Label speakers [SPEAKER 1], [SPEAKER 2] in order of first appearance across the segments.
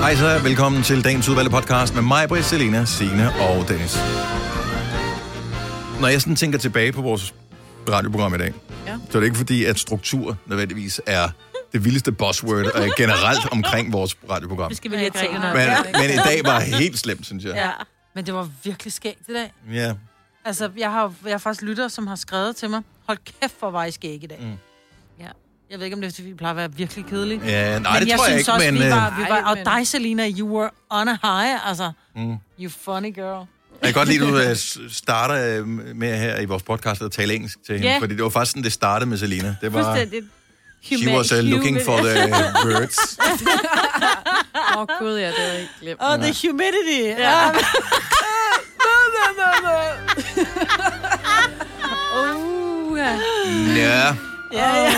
[SPEAKER 1] Hej så, velkommen til dagens udvalgte podcast med mig, Britt, Selina, Signe og Dennis. Når jeg sådan tænker tilbage på vores radioprogram i dag, ja. så er det ikke fordi, at struktur nødvendigvis er det vildeste buzzword og generelt omkring vores radioprogram.
[SPEAKER 2] Det skal vi lige have tænkt
[SPEAKER 1] Men, men i dag var helt slemt, synes jeg.
[SPEAKER 2] Ja.
[SPEAKER 3] Men det var virkelig skægt i dag.
[SPEAKER 1] Ja.
[SPEAKER 3] Altså, jeg har, jeg har faktisk lytter, som har skrevet til mig, hold kæft, hvor var I skæg i dag.
[SPEAKER 1] Mm.
[SPEAKER 2] Ja.
[SPEAKER 3] Jeg ved ikke, om det er, fordi vi plejer at være virkelig kedelige.
[SPEAKER 1] Ja, nej,
[SPEAKER 3] men
[SPEAKER 1] det
[SPEAKER 3] jeg
[SPEAKER 1] tror jeg
[SPEAKER 3] synes
[SPEAKER 1] ikke,
[SPEAKER 3] også,
[SPEAKER 1] men,
[SPEAKER 3] vi
[SPEAKER 1] øh,
[SPEAKER 3] var, vi var,
[SPEAKER 2] Nej,
[SPEAKER 3] og
[SPEAKER 2] men-
[SPEAKER 3] dig, Selina, you were on a high, altså.
[SPEAKER 1] Mm.
[SPEAKER 3] You funny girl.
[SPEAKER 1] Jeg kan godt lide, at du øh, s- starter øh, med her i vores podcast at tale engelsk til hende,
[SPEAKER 2] Ja.
[SPEAKER 1] fordi det var faktisk sådan, det startede med Selina. Det var,
[SPEAKER 2] Fuldstændig.
[SPEAKER 1] she was uh, looking for the words.
[SPEAKER 4] Åh oh, gud, ja, det havde jeg ikke glemt.
[SPEAKER 3] Oh, the humidity. Ah. Ja.
[SPEAKER 4] Uh, ja.
[SPEAKER 1] Ja,
[SPEAKER 3] ja, ja.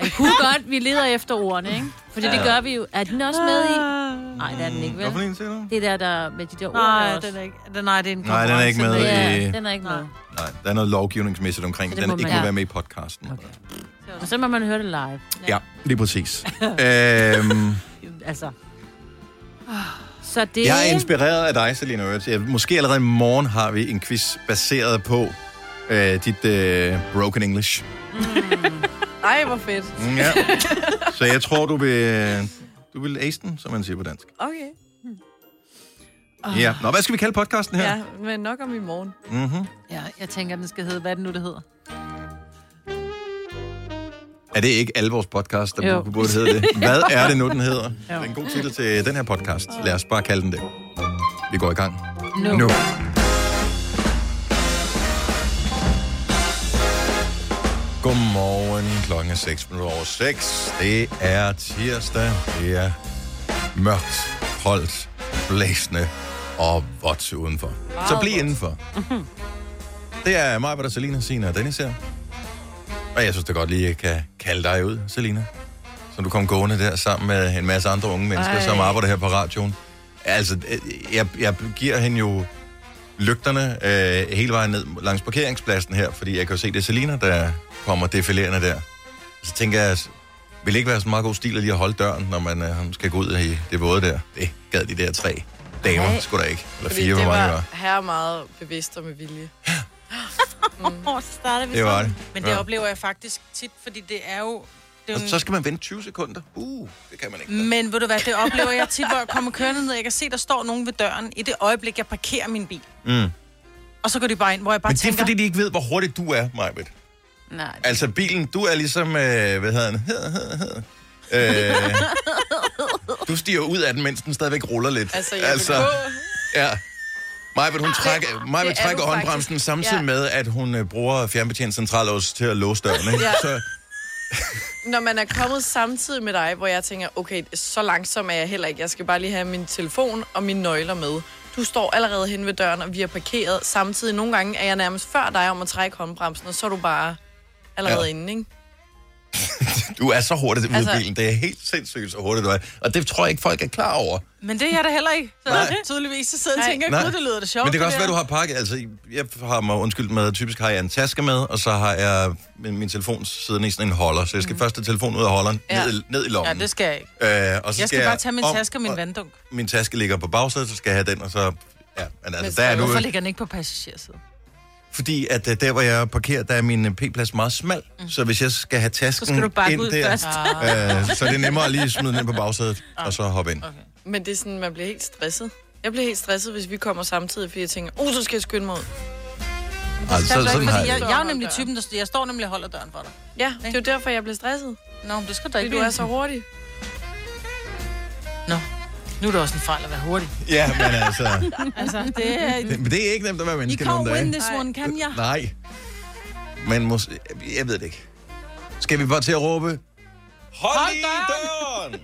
[SPEAKER 4] Jeg kunne godt, vi leder efter ordene, ikke? Fordi det
[SPEAKER 1] Ja.
[SPEAKER 4] gør vi jo. Er den også med i?
[SPEAKER 3] Ah.
[SPEAKER 4] Nej, det er den ikke, vel?
[SPEAKER 1] hvorfor en til dig?
[SPEAKER 4] Det der, der med de der ord
[SPEAKER 3] Nej,
[SPEAKER 4] også.
[SPEAKER 3] den er ikke, den, nej, det er en
[SPEAKER 1] Nej, den er ikke med.
[SPEAKER 3] konkurrence
[SPEAKER 4] Ja,
[SPEAKER 1] Øh,
[SPEAKER 4] den er ikke med.
[SPEAKER 1] Nej, der er noget lovgivningsmæssigt omkring,
[SPEAKER 4] Så
[SPEAKER 1] det
[SPEAKER 4] det
[SPEAKER 1] den
[SPEAKER 4] må
[SPEAKER 1] ikke
[SPEAKER 4] man-
[SPEAKER 1] må
[SPEAKER 4] Ja.
[SPEAKER 1] være med i podcasten. Okay.
[SPEAKER 4] Og så må man høre det live.
[SPEAKER 1] Ja, lige præcis. øhm,
[SPEAKER 4] Altså. Så det...
[SPEAKER 1] jeg er inspireret af dig, Selina Ørts. Jeg- Måske allerede i morgen har vi en quiz baseret på øh, dit øh, broken English.
[SPEAKER 5] Mm. Ej, hvor fedt.
[SPEAKER 1] Mm, Ja. Så jeg tror, du vil, du vil ace den, som man siger på dansk.
[SPEAKER 5] Okay.
[SPEAKER 1] Ja. Nå, hvad skal vi kalde podcasten her?
[SPEAKER 5] Ja, men nok om i morgen.
[SPEAKER 1] Mm-hmm.
[SPEAKER 3] Ja, jeg tænker, den skal hedde, hvad er det nu, det hedder?
[SPEAKER 1] Er det ikke alle vores podcast, der
[SPEAKER 4] Jo.
[SPEAKER 1] jo. burde hedde det? Hvad er det nu, den hedder? Det er en god titel til den her podcast. Lad os bare kalde den det. Vi går i gang.
[SPEAKER 3] Nu.
[SPEAKER 1] Nu. Godmorgen. Klokken er 6 minutter over 6. Det er tirsdag. Det er mørkt, koldt, blæsende og vådt udenfor. Så bliv indenfor. Det er mig, der Selina, Sina og Dennis her. Og jeg synes da godt lige, jeg kan kalde dig ud, Selina. Så du kom gående der sammen med en masse andre unge mennesker, Ej.
[SPEAKER 5] Ej.
[SPEAKER 1] som arbejder her på radioen. Altså, øh, jeg, jeg giver hende jo lygterne øh, hele vejen ned langs parkeringspladsen her, fordi jeg kan jo se, det er Selina, der kommer defilerende der. Så tænker jeg, vil det ikke være så meget god stil at lige at holde døren, når man øh, skal gå ud i det våde der? Det gad de der tre damer,
[SPEAKER 4] Nej.
[SPEAKER 1] skulle da ikke. Eller
[SPEAKER 5] Fordi
[SPEAKER 1] fire,
[SPEAKER 5] det
[SPEAKER 1] hvor mange det
[SPEAKER 5] var
[SPEAKER 1] var.
[SPEAKER 5] her meget bevidst og med vilje.
[SPEAKER 3] Åh, oh, så starter vi
[SPEAKER 1] Det var det.
[SPEAKER 3] Men det
[SPEAKER 1] Ja.
[SPEAKER 3] oplever jeg faktisk tit, fordi det er jo... Det er
[SPEAKER 1] Og
[SPEAKER 3] jo
[SPEAKER 1] så skal man vente 20 sekunder. Uh, det kan man ikke.
[SPEAKER 3] Men ved du hvad, det oplever jeg tit, hvor jeg kommer kørende ned. Jeg kan se, der står nogen ved døren i det øjeblik, jeg parkerer min bil.
[SPEAKER 1] Mm.
[SPEAKER 3] Og så går de bare ind, hvor jeg bare
[SPEAKER 1] Men det er
[SPEAKER 3] tænker...
[SPEAKER 1] fordi, de ikke ved, hvor hurtigt du er, Majbet.
[SPEAKER 4] Nej.
[SPEAKER 1] Altså bilen, du er ligesom, øh, hvad hedder den? øh, du stiger ud af den, mens den stadigvæk ruller lidt.
[SPEAKER 5] Altså, jeg altså... vil gå...
[SPEAKER 1] ja. Majbet, hun trækker, Majbet
[SPEAKER 5] det er
[SPEAKER 1] trækker
[SPEAKER 5] du
[SPEAKER 1] håndbremsen
[SPEAKER 5] faktisk.
[SPEAKER 1] samtidig
[SPEAKER 5] Ja.
[SPEAKER 1] med, at hun øh, bruger fjernbetjentcentralås til at låse døren. Ikke?
[SPEAKER 5] Ja.
[SPEAKER 1] Så,
[SPEAKER 5] Når man er kommet samtidig med dig, hvor jeg tænker, okay, så langsom er jeg heller ikke. Jeg skal bare lige have min telefon og mine nøgler med. Du står allerede hen ved døren, og vi er parkeret. Samtidig nogle gange er jeg nærmest før dig om at trække håndbremsen, og så er du bare allerede
[SPEAKER 1] Ja.
[SPEAKER 5] ja. inde, ikke?
[SPEAKER 1] du er så hurtigt ude altså...
[SPEAKER 5] Altså-
[SPEAKER 1] i bilen. Det er helt sindssygt, så hurtigt du er. Og det tror jeg ikke, folk er klar over.
[SPEAKER 3] Men det er jeg da heller ikke. Så
[SPEAKER 1] Nej.
[SPEAKER 3] tydeligvis så sidder jeg
[SPEAKER 5] Nej.
[SPEAKER 3] og tænker,
[SPEAKER 1] Nej.
[SPEAKER 3] gud, det lyder da sjovt.
[SPEAKER 1] Men det kan også være, du
[SPEAKER 3] der.
[SPEAKER 1] har pakket. Altså, jeg har mig undskyld med, typisk har jeg en taske med, og så har jeg min, min telefon siddende i sådan en holder. Så jeg skal mm. først have telefonen ud af holderen, ja.
[SPEAKER 5] Ja.
[SPEAKER 1] ned, i- ned i lommen.
[SPEAKER 3] Ja, det skal jeg ikke.
[SPEAKER 1] Øh, og så
[SPEAKER 3] Jeg skal bare
[SPEAKER 1] jeg
[SPEAKER 3] tage min
[SPEAKER 1] om-
[SPEAKER 3] taske og min
[SPEAKER 1] og
[SPEAKER 3] vanddunk.
[SPEAKER 1] Min taske ligger på bagsædet, så skal jeg have den, og så... Ja, men
[SPEAKER 5] Men
[SPEAKER 1] altså,
[SPEAKER 5] så
[SPEAKER 1] der er nu,
[SPEAKER 3] Hvorfor ligger den ikke på passagersiden?
[SPEAKER 1] fordi at øh, der, hvor jeg parkerer, der er min øh, p-plads meget smal. Mm. Så hvis jeg skal have tasken
[SPEAKER 3] skal du bakke
[SPEAKER 1] ind
[SPEAKER 3] ud
[SPEAKER 1] der,
[SPEAKER 3] først. Ah.
[SPEAKER 1] øh, så er det nemmere at lige smide den ind på bagsædet, og så hoppe ind.
[SPEAKER 5] Men det er sådan, man bliver helt stresset. Jeg bliver helt stresset, hvis vi kommer samtidig, fordi jeg tænker, uh, så skal jeg skynde mig ud.
[SPEAKER 1] Altså,
[SPEAKER 3] Så,
[SPEAKER 1] så,
[SPEAKER 3] ikke,
[SPEAKER 1] sådan har
[SPEAKER 3] fordi
[SPEAKER 1] jeg
[SPEAKER 3] jeg,
[SPEAKER 1] det.
[SPEAKER 3] jeg er jo nemlig typen, der står- jeg står nemlig og holder døren for dig.
[SPEAKER 5] Ja, det er jo derfor, jeg bliver stresset.
[SPEAKER 3] Nå, men det skal du da
[SPEAKER 5] Fordi
[SPEAKER 3] ikke.
[SPEAKER 5] du er så hurtig.
[SPEAKER 3] Nå, nu er det også en fejl at være hurtig.
[SPEAKER 1] Ja, men altså...
[SPEAKER 3] Altså, det er...
[SPEAKER 1] Det, det er ikke nemt at være
[SPEAKER 3] You
[SPEAKER 1] menneske
[SPEAKER 3] can't
[SPEAKER 1] nogle dage.
[SPEAKER 3] win this one, kan jeg?
[SPEAKER 1] Nej. Men mås- jeg ved det ikke. Skal vi bare til at råbe? Hold,
[SPEAKER 3] Hold
[SPEAKER 1] i døren!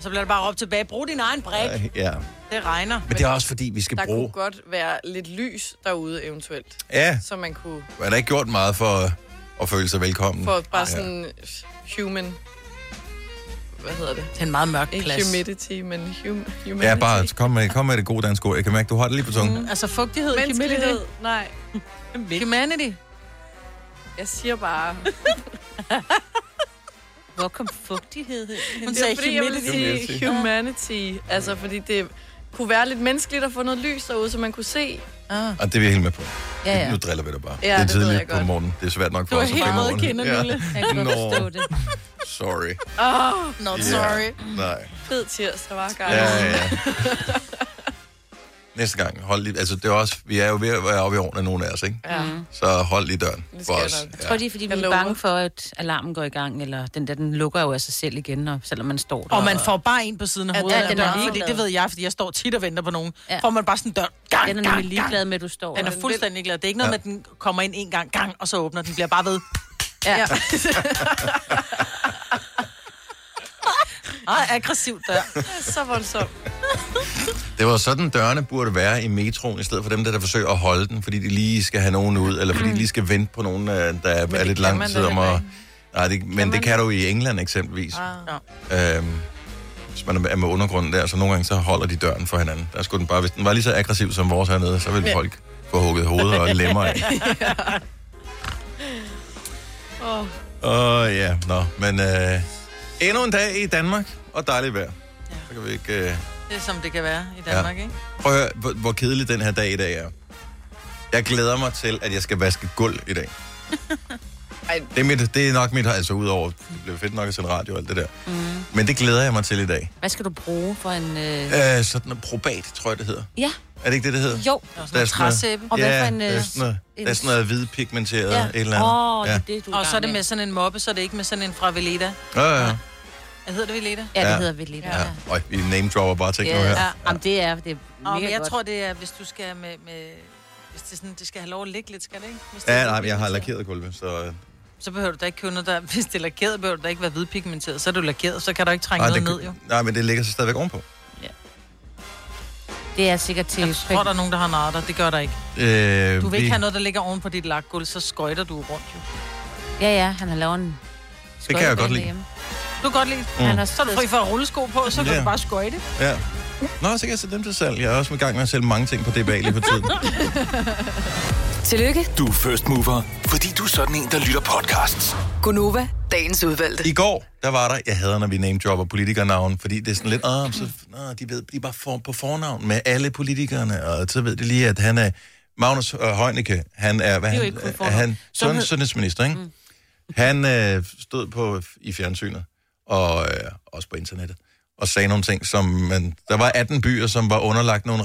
[SPEAKER 3] Så bliver det bare råbt tilbage. Brug din egen brik.
[SPEAKER 1] Ej, ja,
[SPEAKER 3] Det regner.
[SPEAKER 1] men det er også fordi, vi skal
[SPEAKER 5] Der
[SPEAKER 1] bruge...
[SPEAKER 5] kunne godt være lidt lys derude eventuelt,
[SPEAKER 1] Ja,
[SPEAKER 5] så man kunne
[SPEAKER 1] man har ikke gjort meget for at føle sig velkommen.
[SPEAKER 5] få
[SPEAKER 1] Mm. Ja.
[SPEAKER 5] bare sådan human... Hvad hedder det?
[SPEAKER 3] Det er en meget mørk
[SPEAKER 5] Ikke
[SPEAKER 3] plads.
[SPEAKER 5] humidity, men hum, humanity.
[SPEAKER 1] Ja, bare kom med, kom med det gode danske ord. Jeg kan mærke, du har det lige på tungen.
[SPEAKER 3] Altså fugtighed, humidity.
[SPEAKER 5] Menneskelighed. Nej,
[SPEAKER 3] Humanity.
[SPEAKER 5] jeg siger bare...
[SPEAKER 4] Hvor kom fugtighed hen?
[SPEAKER 3] Hun
[SPEAKER 5] Det er
[SPEAKER 3] sagde
[SPEAKER 5] fordi, jeg ville
[SPEAKER 3] humidity.
[SPEAKER 1] Humidity.
[SPEAKER 5] sige humanity. Altså, fordi det kunne være lidt menneskeligt at få noget lys derude, så man kunne se.
[SPEAKER 3] Ah.
[SPEAKER 1] Og det er vi helt med på.
[SPEAKER 4] Ja, ja.
[SPEAKER 1] Nu driller vi dig bare.
[SPEAKER 5] Ja,
[SPEAKER 1] det er
[SPEAKER 5] det ved
[SPEAKER 1] tidligt
[SPEAKER 5] jeg
[SPEAKER 1] på
[SPEAKER 5] godt.
[SPEAKER 1] morgenen. Det er svært nok for
[SPEAKER 3] Du er
[SPEAKER 1] os at
[SPEAKER 3] helt
[SPEAKER 1] finde
[SPEAKER 3] rød i
[SPEAKER 1] morgenen.
[SPEAKER 3] kinderne, Lille.
[SPEAKER 4] Jeg kan godt
[SPEAKER 1] Nå.
[SPEAKER 4] forstå det.
[SPEAKER 1] Sorry.
[SPEAKER 5] Åh, oh,
[SPEAKER 3] Not
[SPEAKER 1] Ja.
[SPEAKER 3] sorry.
[SPEAKER 1] Nej.
[SPEAKER 5] fed tirsdag, var Karl.
[SPEAKER 1] Ja, ja, ja. Næste gang, hold lige... Altså, det er også... Vi er jo ved at være oppe i årene, nogle af os, ikke?
[SPEAKER 5] ja.
[SPEAKER 1] Så hold lige døren
[SPEAKER 5] Det
[SPEAKER 1] for
[SPEAKER 5] skal
[SPEAKER 1] os.
[SPEAKER 5] jeg nok.
[SPEAKER 4] Jeg tror, det er, fordi vi
[SPEAKER 5] Jeg
[SPEAKER 4] er
[SPEAKER 5] lover.
[SPEAKER 4] bange for, at alarmen går i gang, eller den der, den lukker jo af sig selv igen, og, selvom man står der.
[SPEAKER 3] Og man får bare en på siden af
[SPEAKER 4] Ja,
[SPEAKER 3] hovedet.
[SPEAKER 4] den
[SPEAKER 3] Ja,
[SPEAKER 4] er
[SPEAKER 3] den døren,
[SPEAKER 4] lige
[SPEAKER 3] fordi
[SPEAKER 4] glad.
[SPEAKER 3] det ved jeg, fordi jeg står tit og venter på nogen.
[SPEAKER 4] Ja.
[SPEAKER 3] Ja. Får man bare sådan en dør. Gang,
[SPEAKER 4] Den er
[SPEAKER 3] gang,
[SPEAKER 4] nemlig ligeglad med, at du står
[SPEAKER 3] Den
[SPEAKER 4] der.
[SPEAKER 3] er fuldstændig glad. Det er ikke noget med,
[SPEAKER 1] Ja.
[SPEAKER 3] at den kommer ind en gang, gang, og så åbner den. bliver bare ved.
[SPEAKER 5] Ja. ja.
[SPEAKER 3] Ej, aggressivt der.
[SPEAKER 5] Så voldsomt.
[SPEAKER 1] Det var sådan, dørene burde være i metroen, i stedet for dem, der, der forsøger at holde den, fordi de lige skal have nogen ud, eller fordi de lige skal vente på nogen, øh, der er
[SPEAKER 5] det
[SPEAKER 1] lidt
[SPEAKER 5] kan
[SPEAKER 1] lang
[SPEAKER 5] man
[SPEAKER 1] tid
[SPEAKER 5] da
[SPEAKER 1] om
[SPEAKER 5] heller
[SPEAKER 1] at...
[SPEAKER 5] ikke.
[SPEAKER 1] Nej, det, men det
[SPEAKER 5] man
[SPEAKER 1] kan du i England eksempelvis.
[SPEAKER 5] Ah.
[SPEAKER 3] Ja.
[SPEAKER 1] Øhm, hvis man er med undergrunden der, så nogle gange så holder de døren for hinanden. Der skulle den bare, hvis den var lige så aggressiv som vores hernede, så ville
[SPEAKER 5] Ja.
[SPEAKER 1] folk få hugget hovedet og lemmer af.
[SPEAKER 5] Åh.
[SPEAKER 1] Åh oh, ja, nå, men øh, endnu en dag i Danmark, og dejligt vejr. Så kan vi ikke... Øh,
[SPEAKER 3] Det er som det kan være i Danmark,
[SPEAKER 1] Ja.
[SPEAKER 3] ja. ikke?
[SPEAKER 1] prøv at høre, hvor, hvor kedelig den her dag i dag er. Jeg glæder mig til, at jeg skal vaske gulv i dag.
[SPEAKER 5] Ej.
[SPEAKER 1] Det er, mit, det er nok mit, altså udover, det bliver fedt nok at sende radio og alt det der. Mm. Men det glæder jeg mig til i dag.
[SPEAKER 4] Hvad skal du bruge for en... Øh...
[SPEAKER 1] Øh, sådan en probat, tror jeg det hedder.
[SPEAKER 4] Ja,
[SPEAKER 1] Er det ikke det, det hedder?
[SPEAKER 4] jo.
[SPEAKER 1] Der er sådan noget-
[SPEAKER 3] træsæbe.
[SPEAKER 4] Og hvad
[SPEAKER 1] ja,
[SPEAKER 4] for en...
[SPEAKER 1] der er sådan noget, der er sådan noget hvidpigmenteret ja. et eller andet.
[SPEAKER 4] Åh, oh, det
[SPEAKER 1] ja.
[SPEAKER 4] er det, du er
[SPEAKER 3] Og så er
[SPEAKER 4] gang
[SPEAKER 3] det med sådan en moppe, så er det ikke med sådan en fra Veleda.
[SPEAKER 1] Ja, ja,
[SPEAKER 3] Hvad hedder det, Veleda?
[SPEAKER 4] Ja, det
[SPEAKER 1] Ja.
[SPEAKER 4] hedder vi lidt.
[SPEAKER 1] ja. Øj, vi name dropper bare ting nu
[SPEAKER 4] Ja,
[SPEAKER 1] her.
[SPEAKER 4] ja. Jamen, det er, det er mega
[SPEAKER 3] Nå, men jeg
[SPEAKER 4] godt.
[SPEAKER 3] tror, det er, hvis du skal med... med hvis det, er sådan, det skal have lov at ligge lidt, skal det ikke? Hvis det
[SPEAKER 1] Ja,
[SPEAKER 3] er
[SPEAKER 1] nej, men jeg har
[SPEAKER 3] hvidpigmenteret.
[SPEAKER 1] lakeret gulvet, så... øh. Nej,
[SPEAKER 3] Så behøver du da ikke købe noget, der... Hvis det er lakeret, behøver du da ikke være hvidpigmenteret. Så er du lakeret, så kan du ikke trænge noget
[SPEAKER 1] det,
[SPEAKER 3] ned, jo.
[SPEAKER 1] nej, men det ligger så stadigvæk ovenpå.
[SPEAKER 4] det er sikkert til...
[SPEAKER 3] Jeg tror, der er nogen, der har narter. Det gør der ikke.
[SPEAKER 1] Øh,
[SPEAKER 3] Du vil
[SPEAKER 1] vi-
[SPEAKER 3] ikke have noget, der ligger oven på dit lakgulv, så skøjter du rundt, jo.
[SPEAKER 4] Ja, ja, han har lavet en...
[SPEAKER 1] Det kan jeg godt lide. Mm.
[SPEAKER 4] skøjtebane
[SPEAKER 3] Du kan godt lide
[SPEAKER 4] derhjemme. Han har
[SPEAKER 3] Så er du fri for at rulle sko på, så kan
[SPEAKER 1] Ja.
[SPEAKER 3] du bare skøjte.
[SPEAKER 1] Ja. Nå, så kan jeg sætte dem til salg. Jeg er også i gang med at sælge mange ting på DBA lige for tiden.
[SPEAKER 2] Tillykke,
[SPEAKER 6] Du er first mover, fordi du er sådan en, der lytter podcasts.
[SPEAKER 2] Gunova, dagens udvalgte.
[SPEAKER 1] I går, der var der, jeg hader, når vi namedropper politikernavn, fordi det er sådan lidt, ah, så, ah, de ved, de er bare for, på fornavn med alle politikerne, og så ved de lige, at han er Magnus øh, Heunicke, han er, hvad
[SPEAKER 4] jo
[SPEAKER 1] han,
[SPEAKER 4] ikke kun
[SPEAKER 1] er
[SPEAKER 4] fornavn.
[SPEAKER 1] han sund,
[SPEAKER 4] Sundhed.
[SPEAKER 1] sundhedsminister, ikke? Mm. Han øh, stod på i fjernsynet, og øh, også på internettet, og sagde nogle ting, som man, der var 18 byer, som var underlagt nogle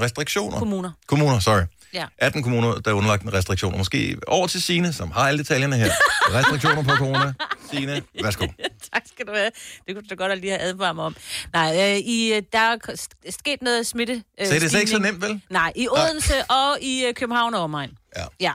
[SPEAKER 1] restriktioner.
[SPEAKER 4] Kommuner.
[SPEAKER 1] Kommuner, sorry.
[SPEAKER 4] Ja.
[SPEAKER 1] 18 kommuner, der er underlagt en restriktioner. Måske over til Sine, som har alle detaljerne her. Restriktioner på corona. Sine, værsgo.
[SPEAKER 4] tak skal du have. Det kunne du da godt at lige have advaret mig om. Nej, øh, i, øh, der er k- st- sket noget smitte. Øh,
[SPEAKER 1] Så det er slet ikke så
[SPEAKER 4] stigning.
[SPEAKER 1] nemt, vel?
[SPEAKER 4] Nej, i Odense og i øh, København og omegn.
[SPEAKER 1] Ja.
[SPEAKER 4] Ja,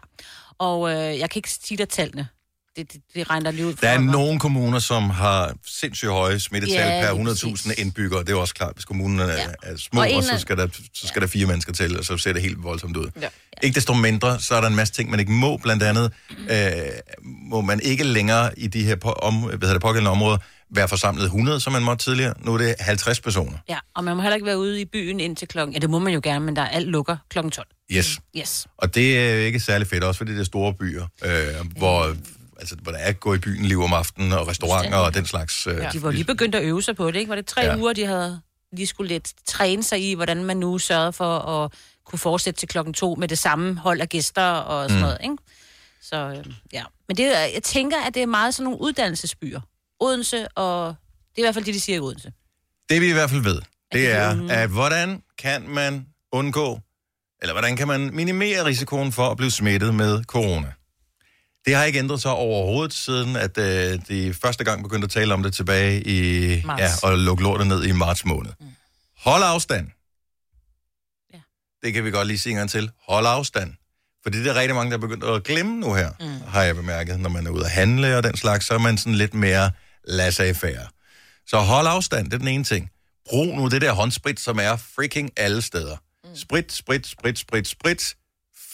[SPEAKER 4] og øh, jeg kan ikke sige dig tallene. Det, det, det regner lige ud. for
[SPEAKER 1] Der er
[SPEAKER 4] mig.
[SPEAKER 1] nogle kommuner, som har sindssygt høje smittetal
[SPEAKER 4] Ja,
[SPEAKER 1] per
[SPEAKER 4] lige
[SPEAKER 1] 100.000
[SPEAKER 4] præcis.
[SPEAKER 1] indbyggere. Det er jo også klart, hvis kommunerne ja. er små,
[SPEAKER 4] Og
[SPEAKER 1] og,
[SPEAKER 4] en
[SPEAKER 1] og så,
[SPEAKER 4] af-
[SPEAKER 1] skal der, så skal der fire mennesker til, og så ser det helt voldsomt ud.
[SPEAKER 5] Ja.
[SPEAKER 1] Ikke desto mindre, så er der en masse ting, man ikke må. Blandt andet øh, må man ikke længere i de her på, om, hvad hedder det, pågældende områder være forsamlet 100, som man måtte tidligere. Nu er det 50 personer.
[SPEAKER 4] Ja, og man må heller ikke være ude i byen indtil klokken... Ja, det må man jo gerne, men der er alt lukker klokken 12.
[SPEAKER 1] Yes.
[SPEAKER 4] Yes.
[SPEAKER 1] Og det er ikke særlig fedt, også fordi det er store byer, øh, hvor, altså, hvor der er at gå i byen liv om aftenen, og restauranter og den slags. Øh,
[SPEAKER 4] De var jo lige begyndt at øve sig på det, ikke? Var det tre
[SPEAKER 1] Ja.
[SPEAKER 4] ja. uger, de havde lige skulle lidt træne sig i, hvordan man nu sørgede for at kunne fortsætte til klokken to med det samme hold af gæster og sådan mm. noget, ikke? Så øh, ja. Men det, er- jeg tænker, at det er meget sådan nogle uddannelsesbyer. Odense og... Det er i hvert fald det, de siger i Odense.
[SPEAKER 1] Det vi i hvert fald ved, det er, at hvordan kan man undgå, eller hvordan kan man minimere risikoen for at blive smittet med corona? Det har ikke ændret sig overhovedet, siden at øh, de første gang begyndte at tale om det tilbage i...
[SPEAKER 3] Marts.
[SPEAKER 1] Ja, og lukke lortet ned i marts måned. Hold afstand.
[SPEAKER 4] Ja.
[SPEAKER 1] Det kan vi godt lige sige en gang til. Hold afstand. Fordi det er rigtig mange, der er begyndt at glemme nu her, mm. har jeg bemærket. Når man er ude at handle og den slags, så er man sådan lidt mere lad sig affære. Så hold afstand, det er den ene ting. Brug nu det der håndsprit, som er freaking alle steder. Mm. Sprit, sprit, sprit, sprit, sprit.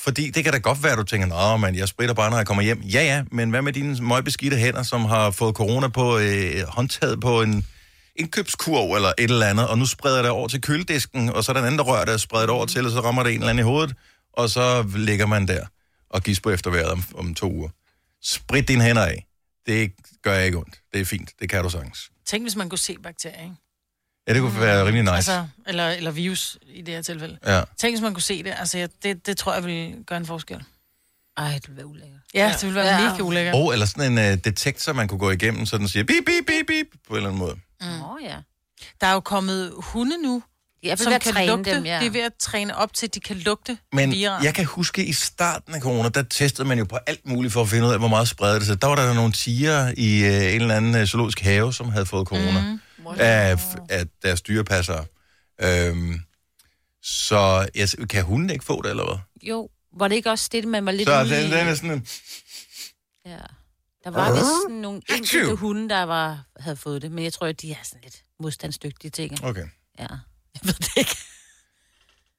[SPEAKER 1] Fordi det kan da godt være, at du tænker, nej, men jeg spritter bare, når jeg kommer hjem. Ja, ja, men hvad med dine møgbeskidte hænder, som har fået corona på øh, håndtaget på en indkøbskurv eller et eller andet, og nu spreder det over til køledisken, og så er der en anden, der rører det og spreder det over til, og så rammer det en eller anden i hovedet, og så ligger man der og gisper efter vejret om, om to uger. Sprit dine hænder af. det gør ikke ondt. Det er fint. Det kan du sagtens.
[SPEAKER 3] Tænk, hvis man kunne se bakterier, ikke?
[SPEAKER 1] Ja, det kunne være rimelig nice.
[SPEAKER 3] Altså, eller, eller virus i det her tilfælde.
[SPEAKER 1] Ja.
[SPEAKER 3] Tænk, hvis man kunne se det. Altså, jeg, det, det tror jeg ville gøre en forskel.
[SPEAKER 4] Ej, det bliver ulækkert.
[SPEAKER 3] Ja, det ville være ja. mega ulækkert.
[SPEAKER 1] Og eller sådan en uh, detektor, man kunne gå igennem, så den siger bip, bip, bip, bip, på en eller anden måde.
[SPEAKER 4] Mm. Nå ja.
[SPEAKER 3] Der er jo kommet hunde nu,
[SPEAKER 4] Jeg vil
[SPEAKER 3] som
[SPEAKER 4] være
[SPEAKER 3] kan
[SPEAKER 4] træne
[SPEAKER 3] lugte.
[SPEAKER 4] dem, ja.
[SPEAKER 3] De er ved at træne op til, at de kan lugte
[SPEAKER 1] Men
[SPEAKER 3] virer.
[SPEAKER 1] jeg kan huske, i starten af corona, der testede man jo på alt muligt for at finde ud af, hvor meget spreder det sig. Der var der nogle tiger i øh, en eller anden øh, zoologisk have, som havde fået corona
[SPEAKER 3] Mhm.
[SPEAKER 1] mm. af, af deres dyrepassere. Øhm, så jeg, s- kan hunden ikke få det, eller hvad?
[SPEAKER 4] Jo, var det ikke også det, man var lidt
[SPEAKER 1] Så altså,
[SPEAKER 4] ude i-
[SPEAKER 1] den, den er sådan en...
[SPEAKER 4] Ja. Der var vist nogle enkelte
[SPEAKER 1] Achoo.
[SPEAKER 4] hunde, der var, havde fået det, men jeg tror, at de er sådan lidt modstandsdygtige ting.
[SPEAKER 1] Okay.
[SPEAKER 4] Ja. Jeg ved det ikke.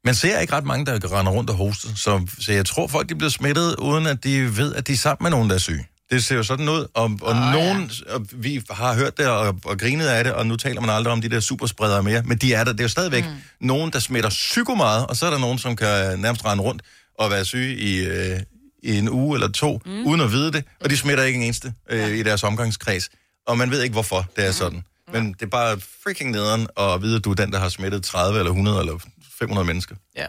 [SPEAKER 1] Man ser ikke ret mange, der render rundt og hoster, så, så jeg tror, folk de bliver smittet, uden at de ved, at de er sammen med nogen, der er syge. Det ser jo sådan ud, og, og oh, nogen, og vi har hørt det og, og grinet af det, og nu taler man aldrig om de der superspredere mere, men de er der. Det er jo stadigvæk mm. nogen, der smitter psyko meget, og så er der nogen, som kan nærmest rende rundt og være syge i, øh, i en uge eller to, mm. uden at vide det, og de smitter ikke en eneste øh, i deres omgangskreds. Og man ved ikke, hvorfor det
[SPEAKER 4] Mhm.
[SPEAKER 1] er sådan. Men det er bare freaking nederen at vide, at du er den, der har smittet 30 eller 100 eller 500 mennesker.
[SPEAKER 4] Mhm.
[SPEAKER 3] Ja.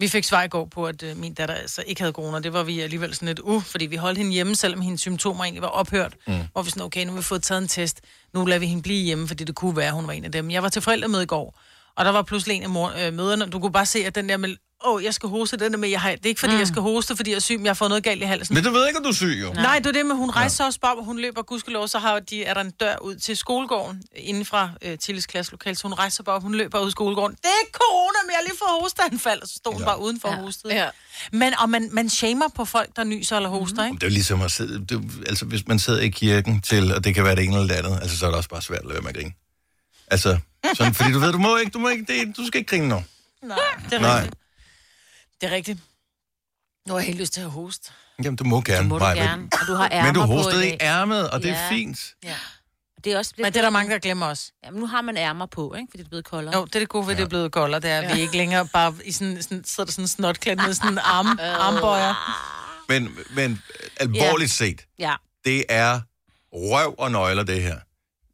[SPEAKER 3] Vi fik svar i går på, at øh, min datter altså ikke havde corona. Det var vi alligevel sådan lidt uh, fordi vi holdt hende hjemme, selvom hendes symptomer egentlig var ophørt. Mm. Hvor vi sådan, okay, nu har vi fået taget en test. Nu lader vi hende blive hjemme, fordi det kunne være, hun var en af dem. Jeg var til forældremøde i går, og der var pludselig en af mor- øh, møderne. Du kunne bare se, at den der med, åh, oh, jeg skal hoste, den der med, jeg har, det er ikke fordi, mm. jeg skal hoste, fordi jeg er syg, men jeg har fået noget galt i halsen.
[SPEAKER 1] Men du ved ikke, at du er syg, jo.
[SPEAKER 3] Nej, det er det med, hun rejser sig også bare, og hun løber gudskelov, så har de, er der en dør ud til skolegården, inden fra øh, Tilles klasselokale, så hun rejser sig bare, op, hun løber ud i skolegården. Det er ikke corona, men jeg har lige fået hosteanfald, og så stod hun bare udenfor ja. hostet.
[SPEAKER 5] Ja.
[SPEAKER 3] Men og man, man shamer på folk, der nyser eller hoster, ikke?
[SPEAKER 1] Det er jo ligesom at sidde, det, er- altså hvis man sidder i kirken til, og det kan være det ene eller det andet, altså så er det også bare svært at lade være med at grine. Altså, sådan, fordi du ved, du må ikke, du må ikke, det, du skal ikke grine nu.
[SPEAKER 3] Nej, det er
[SPEAKER 1] Nej.
[SPEAKER 3] rigtigt. Det er rigtigt. Nu har jeg helt lyst til at hoste.
[SPEAKER 1] Jamen, du må gerne,
[SPEAKER 4] Det må du
[SPEAKER 1] Maja, men-
[SPEAKER 4] gerne. Og du har ærmer
[SPEAKER 1] Men du
[SPEAKER 4] på
[SPEAKER 1] hostede
[SPEAKER 4] i
[SPEAKER 1] i
[SPEAKER 4] dag.
[SPEAKER 1] ærmet, og det er
[SPEAKER 4] Ja.
[SPEAKER 1] fint.
[SPEAKER 4] Det er også
[SPEAKER 3] Men
[SPEAKER 4] det,
[SPEAKER 3] det er der mange, der glemmer os.
[SPEAKER 4] jamen, nu har man ærmer på, ikke? fordi det er blevet koldere.
[SPEAKER 3] Jo, det er det gode ved, det er blevet koldere, det er, at vi ikke længere bare i sådan, sådan, sidder der sådan snotklædt med sådan en arm, armbøjer.
[SPEAKER 1] Men, men alvorligt set,
[SPEAKER 4] Ja.
[SPEAKER 1] det er røv og nøgler, det her.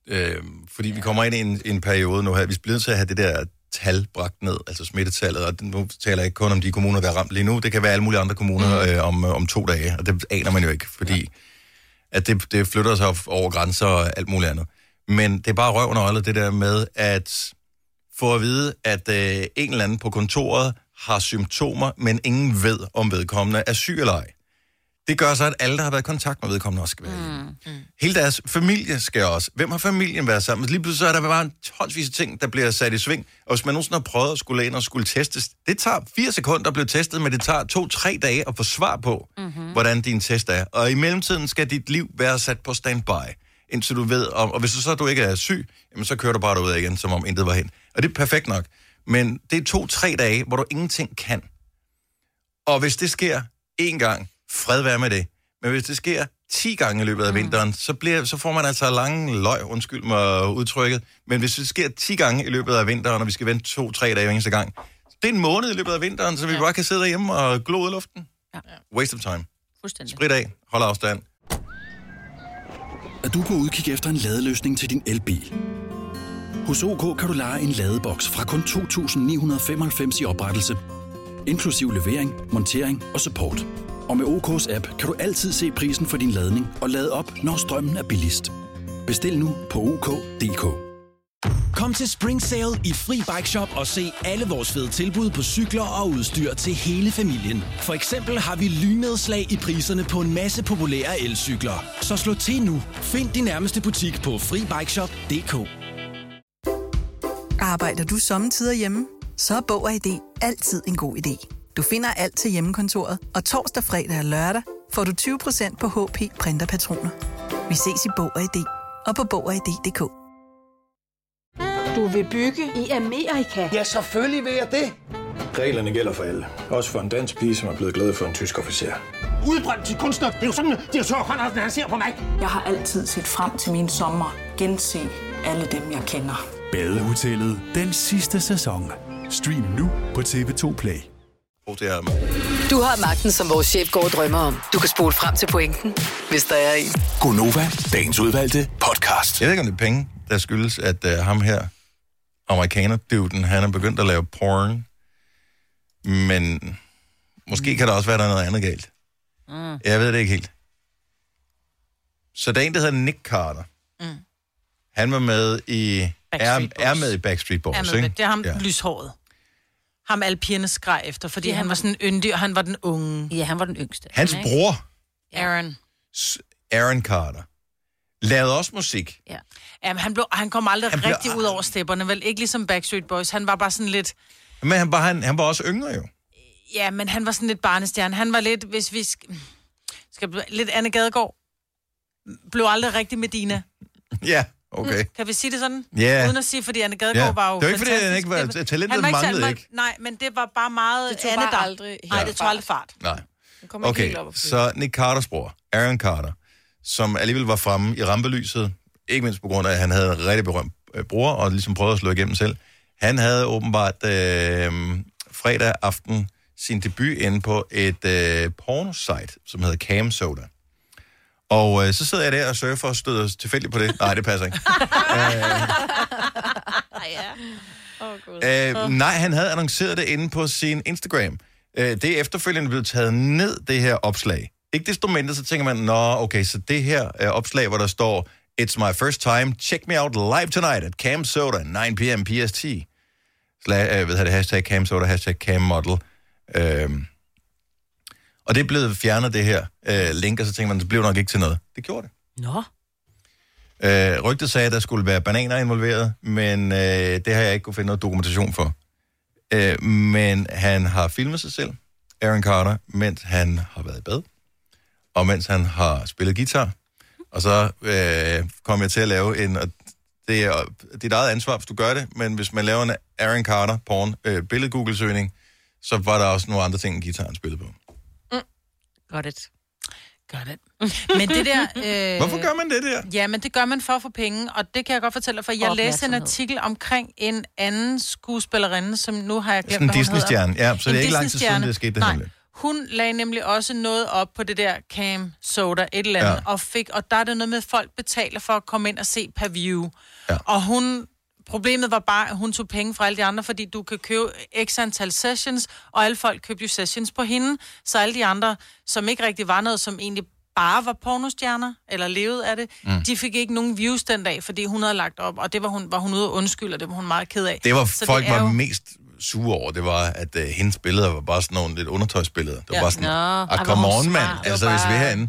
[SPEAKER 1] Øhm, fordi vi kommer ind i en, en periode nu her, vi bliver nødt til at have det der tal bragt ned, altså smittetallet, og nu taler jeg ikke kun om de kommuner, der er ramt lige nu, det kan være alle mulige andre kommuner
[SPEAKER 4] Mm.
[SPEAKER 1] øh, om, øh, om to dage, og det aner man jo ikke, fordi at det, det flytter sig op over grænser og alt muligt andet. Men det er bare røv og nøgler, det der med at få at vide, at øh, en eller anden på kontoret har symptomer, men ingen ved, om vedkommende er syg eller ej. Det gør så, at alle, der har været i kontakt med vedkommende, også skal være mm. Hele deres familie skal også. Hvem har familien været sammen med? Lige pludselig så er der bare en tonsvis af ting, der bliver sat i sving. Og hvis man nogensinde har prøvet at skulle ind og skulle testes, det tager fire sekunder at blive testet, men det tager to-tre dage at få svar på, mm-hmm. hvordan din test er. Og i mellemtiden skal dit liv være sat på standby, indtil du ved om... Og hvis du så du ikke er syg, jamen så kører du bare derud igen, som om intet var hen. Og det er perfekt nok. Men det er to-tre dage, hvor du ingenting kan. Og hvis det sker én gang, fred være med det. Men hvis det sker 10 gange i løbet af mm. vinteren, så, bliver, så får man altså lange løg, undskyld mig udtrykket. Men hvis det sker 10 gange i løbet af vinteren, og vi skal vente 2-3 dage hver eneste gang, det er en måned i løbet af vinteren, så vi bare kan sidde derhjemme og glo ud i luften.
[SPEAKER 4] Ja.
[SPEAKER 1] Waste of time.
[SPEAKER 4] Fuldstændig.
[SPEAKER 1] Sprit af, hold afstand.
[SPEAKER 6] Er du på udkig efter en ladeløsning til din elbil? Hos OK kan du lege en ladeboks fra kun 2.995 i oprettelse, inklusiv levering, montering og support. Og med OK's app kan du altid se prisen for din ladning og lade op, når strømmen er billigst. Bestil nu på OK.dk.
[SPEAKER 7] Kom til Spring Sale i Fri Bike Shop og se alle vores fede tilbud på cykler og udstyr til hele familien. For eksempel har vi lynedslag i priserne på en masse populære elcykler. Så slå til nu. Find din nærmeste butik på FriBikeShop.dk
[SPEAKER 8] Arbejder du sommetider hjemme? Så er Bog og ID altid en god idé. Du finder alt til hjemmekontoret, og torsdag, fredag og lørdag får du 20% på HP Printerpatroner. Vi ses i Bog og ID og på Bog og ID.dk.
[SPEAKER 9] Du vil bygge i Amerika?
[SPEAKER 10] Ja, selvfølgelig vil jeg det.
[SPEAKER 11] Reglerne gælder for alle. Også for en dansk pige, som er blevet glad for en tysk officer.
[SPEAKER 10] Udbrændt til kunstner. Det er jo sådan, at de har tørt, han ser på mig.
[SPEAKER 9] Jeg har altid set frem til min sommer. Gense alle dem, jeg kender.
[SPEAKER 7] Badehotellet den sidste sæson. Stream nu på TV2 Play.
[SPEAKER 1] Brug det her.
[SPEAKER 2] Du har magten, som vores chef går og drømmer om. Du kan spole frem til pointen, hvis der er en.
[SPEAKER 1] Gonova, dagens udvalgte podcast. Jeg ved ikke, om det er penge, der skyldes, at uh, ham her, amerikaner-duden, han er begyndt at lave porn. Men måske
[SPEAKER 3] Mm.
[SPEAKER 1] kan der også være, der er noget andet galt.
[SPEAKER 12] Mm.
[SPEAKER 1] Jeg ved det ikke helt. Så der er en, der hedder Nick Carter. Mm.
[SPEAKER 3] Mm.
[SPEAKER 1] Han var med i... Er,
[SPEAKER 3] Backstreet
[SPEAKER 1] er med i Backstreet Boys,
[SPEAKER 3] Er med,
[SPEAKER 1] ikke?
[SPEAKER 3] det. det er ham
[SPEAKER 1] Ja.
[SPEAKER 3] ja. lyshåret. Ham alle pigerne skreg efter, fordi
[SPEAKER 4] Det er
[SPEAKER 3] ja, han
[SPEAKER 4] ham.
[SPEAKER 3] var sådan yndig, og han var den unge.
[SPEAKER 4] Ja, han var den yngste.
[SPEAKER 1] Hans bror,
[SPEAKER 3] Aaron.
[SPEAKER 1] S- Aaron Carter, lavede også musik.
[SPEAKER 4] Ja.
[SPEAKER 3] Jamen, han, blev, han kom aldrig
[SPEAKER 1] Han
[SPEAKER 3] han
[SPEAKER 1] blev
[SPEAKER 3] rigtig ud over stepperne, vel? Ikke ligesom Backstreet Boys. Han var bare sådan lidt...
[SPEAKER 1] Men han var, han, han var også yngre jo.
[SPEAKER 3] Ja, men han var sådan lidt barnestjerne. Han var lidt, hvis vi skal... skal blive- lidt Anne Gadegaard. Blev aldrig rigtig Medina.
[SPEAKER 1] Ja, okay.
[SPEAKER 3] Kan vi sige det sådan?
[SPEAKER 1] Ja.
[SPEAKER 3] Uden at sige, fordi Anne Gadegaard
[SPEAKER 1] Ja.
[SPEAKER 3] var jo
[SPEAKER 1] Det var ikke, fordi han
[SPEAKER 3] fantastisk.
[SPEAKER 1] ikke var-
[SPEAKER 3] Det-
[SPEAKER 1] talentet
[SPEAKER 3] han var ikke
[SPEAKER 1] manglede
[SPEAKER 3] særlig-
[SPEAKER 1] ikke.
[SPEAKER 3] Nej, men det var bare meget
[SPEAKER 5] Det tog
[SPEAKER 3] Anne,
[SPEAKER 5] bare
[SPEAKER 3] der...
[SPEAKER 5] aldrig
[SPEAKER 3] Nej,
[SPEAKER 5] helt
[SPEAKER 3] det tog aldrig fart.
[SPEAKER 1] Nej.
[SPEAKER 5] Kommer ikke
[SPEAKER 1] Okay,
[SPEAKER 5] helt op at flyve.
[SPEAKER 1] så Nick Carters bror, Aaron Carter, som alligevel var fremme i rampelyset, ikke mindst på grund af, at han havde en rigtig berømt øh, bror, og ligesom prøvede at slå igennem selv. Han havde åbenbart øh, fredag aften sin debut inde på et øh, pornosite, som hedder Cam Soda. Og øh, så sidder jeg der og surfer og støder tilfældigt på det. Nej, det passer ikke. Øh, nej, han havde annonceret det inde på sin Instagram. Øh, det er efterfølgende blevet taget ned, det her opslag. Ikke desto mindre, så tænker man, nå, okay, så det her øh, opslag, hvor der står, It's my first time, check me out live tonight at Cam Soda, 9 p.m. PST. Sla, øh, ved jeg det, hashtag Cam Soda, hashtag Cam Model. Øh, og det er blevet fjernet, det her øh, link, og så tænker man, det blev nok ikke til noget. Det gjorde det.
[SPEAKER 4] Nå.
[SPEAKER 1] Øh, rygtet sagde, at der skulle være bananer involveret, men øh, det har jeg ikke kunne finde noget dokumentation for. Øh, men han har filmet sig selv, Aaron Carter, mens han har været i bad, og mens han har spillet guitar. Og så øh, kom jeg til at lave en, og det er dit eget ansvar, hvis du gør det, men hvis man laver en Aaron Carter porn øh, billed-google-søgning, så var der også nogle andre ting, end guitaren spillede på.
[SPEAKER 4] Got it.
[SPEAKER 3] Got it. Men det der... Øh,
[SPEAKER 1] Hvorfor gør man det der?
[SPEAKER 3] Ja, men det gør man for at få penge, og det kan jeg godt fortælle dig, for jeg læste en artikel omkring en anden skuespillerinde, som nu har jeg glemt,
[SPEAKER 1] Sådan en
[SPEAKER 3] hvad hun hedder.
[SPEAKER 1] Disney-stjerne. Ja, så
[SPEAKER 3] En
[SPEAKER 1] det er ikke lang tid siden,
[SPEAKER 3] Disney-stjerne.
[SPEAKER 1] det skete, det
[SPEAKER 3] Nej.
[SPEAKER 1] hemmelige.
[SPEAKER 3] Hun lagde nemlig også noget op på det der cam soda, et eller andet,
[SPEAKER 1] Ja.
[SPEAKER 3] ja. og, fik, og der er det noget med, at folk betaler for at komme ind og se per view. Ja. Og hun, problemet var bare, at hun tog penge fra alle de andre, fordi du kan købe x antal sessions, og alle folk købte jo sessions på hende, så alle de andre, som ikke rigtig var noget, som egentlig bare var pornostjerner, eller levede af det,
[SPEAKER 1] Mm.
[SPEAKER 3] mm. de fik ikke nogen views den dag, fordi hun havde lagt op, og det var hun, var hun ude og undskylde, og det var hun meget ked af.
[SPEAKER 1] Det var
[SPEAKER 3] Så
[SPEAKER 1] folk
[SPEAKER 3] det er
[SPEAKER 1] var
[SPEAKER 3] jo-
[SPEAKER 1] mest sure over, det var, at øh, hendes billeder var bare sådan nogle lidt undertøjsbilleder. Det var
[SPEAKER 3] Ja.
[SPEAKER 1] bare sådan,
[SPEAKER 3] Nå,
[SPEAKER 1] ah,
[SPEAKER 3] ej,
[SPEAKER 1] come
[SPEAKER 3] hvor hun
[SPEAKER 1] on,
[SPEAKER 3] smart.
[SPEAKER 1] mand.
[SPEAKER 3] Det var
[SPEAKER 1] Altså, hvis vi
[SPEAKER 3] bare-
[SPEAKER 1] er herinde,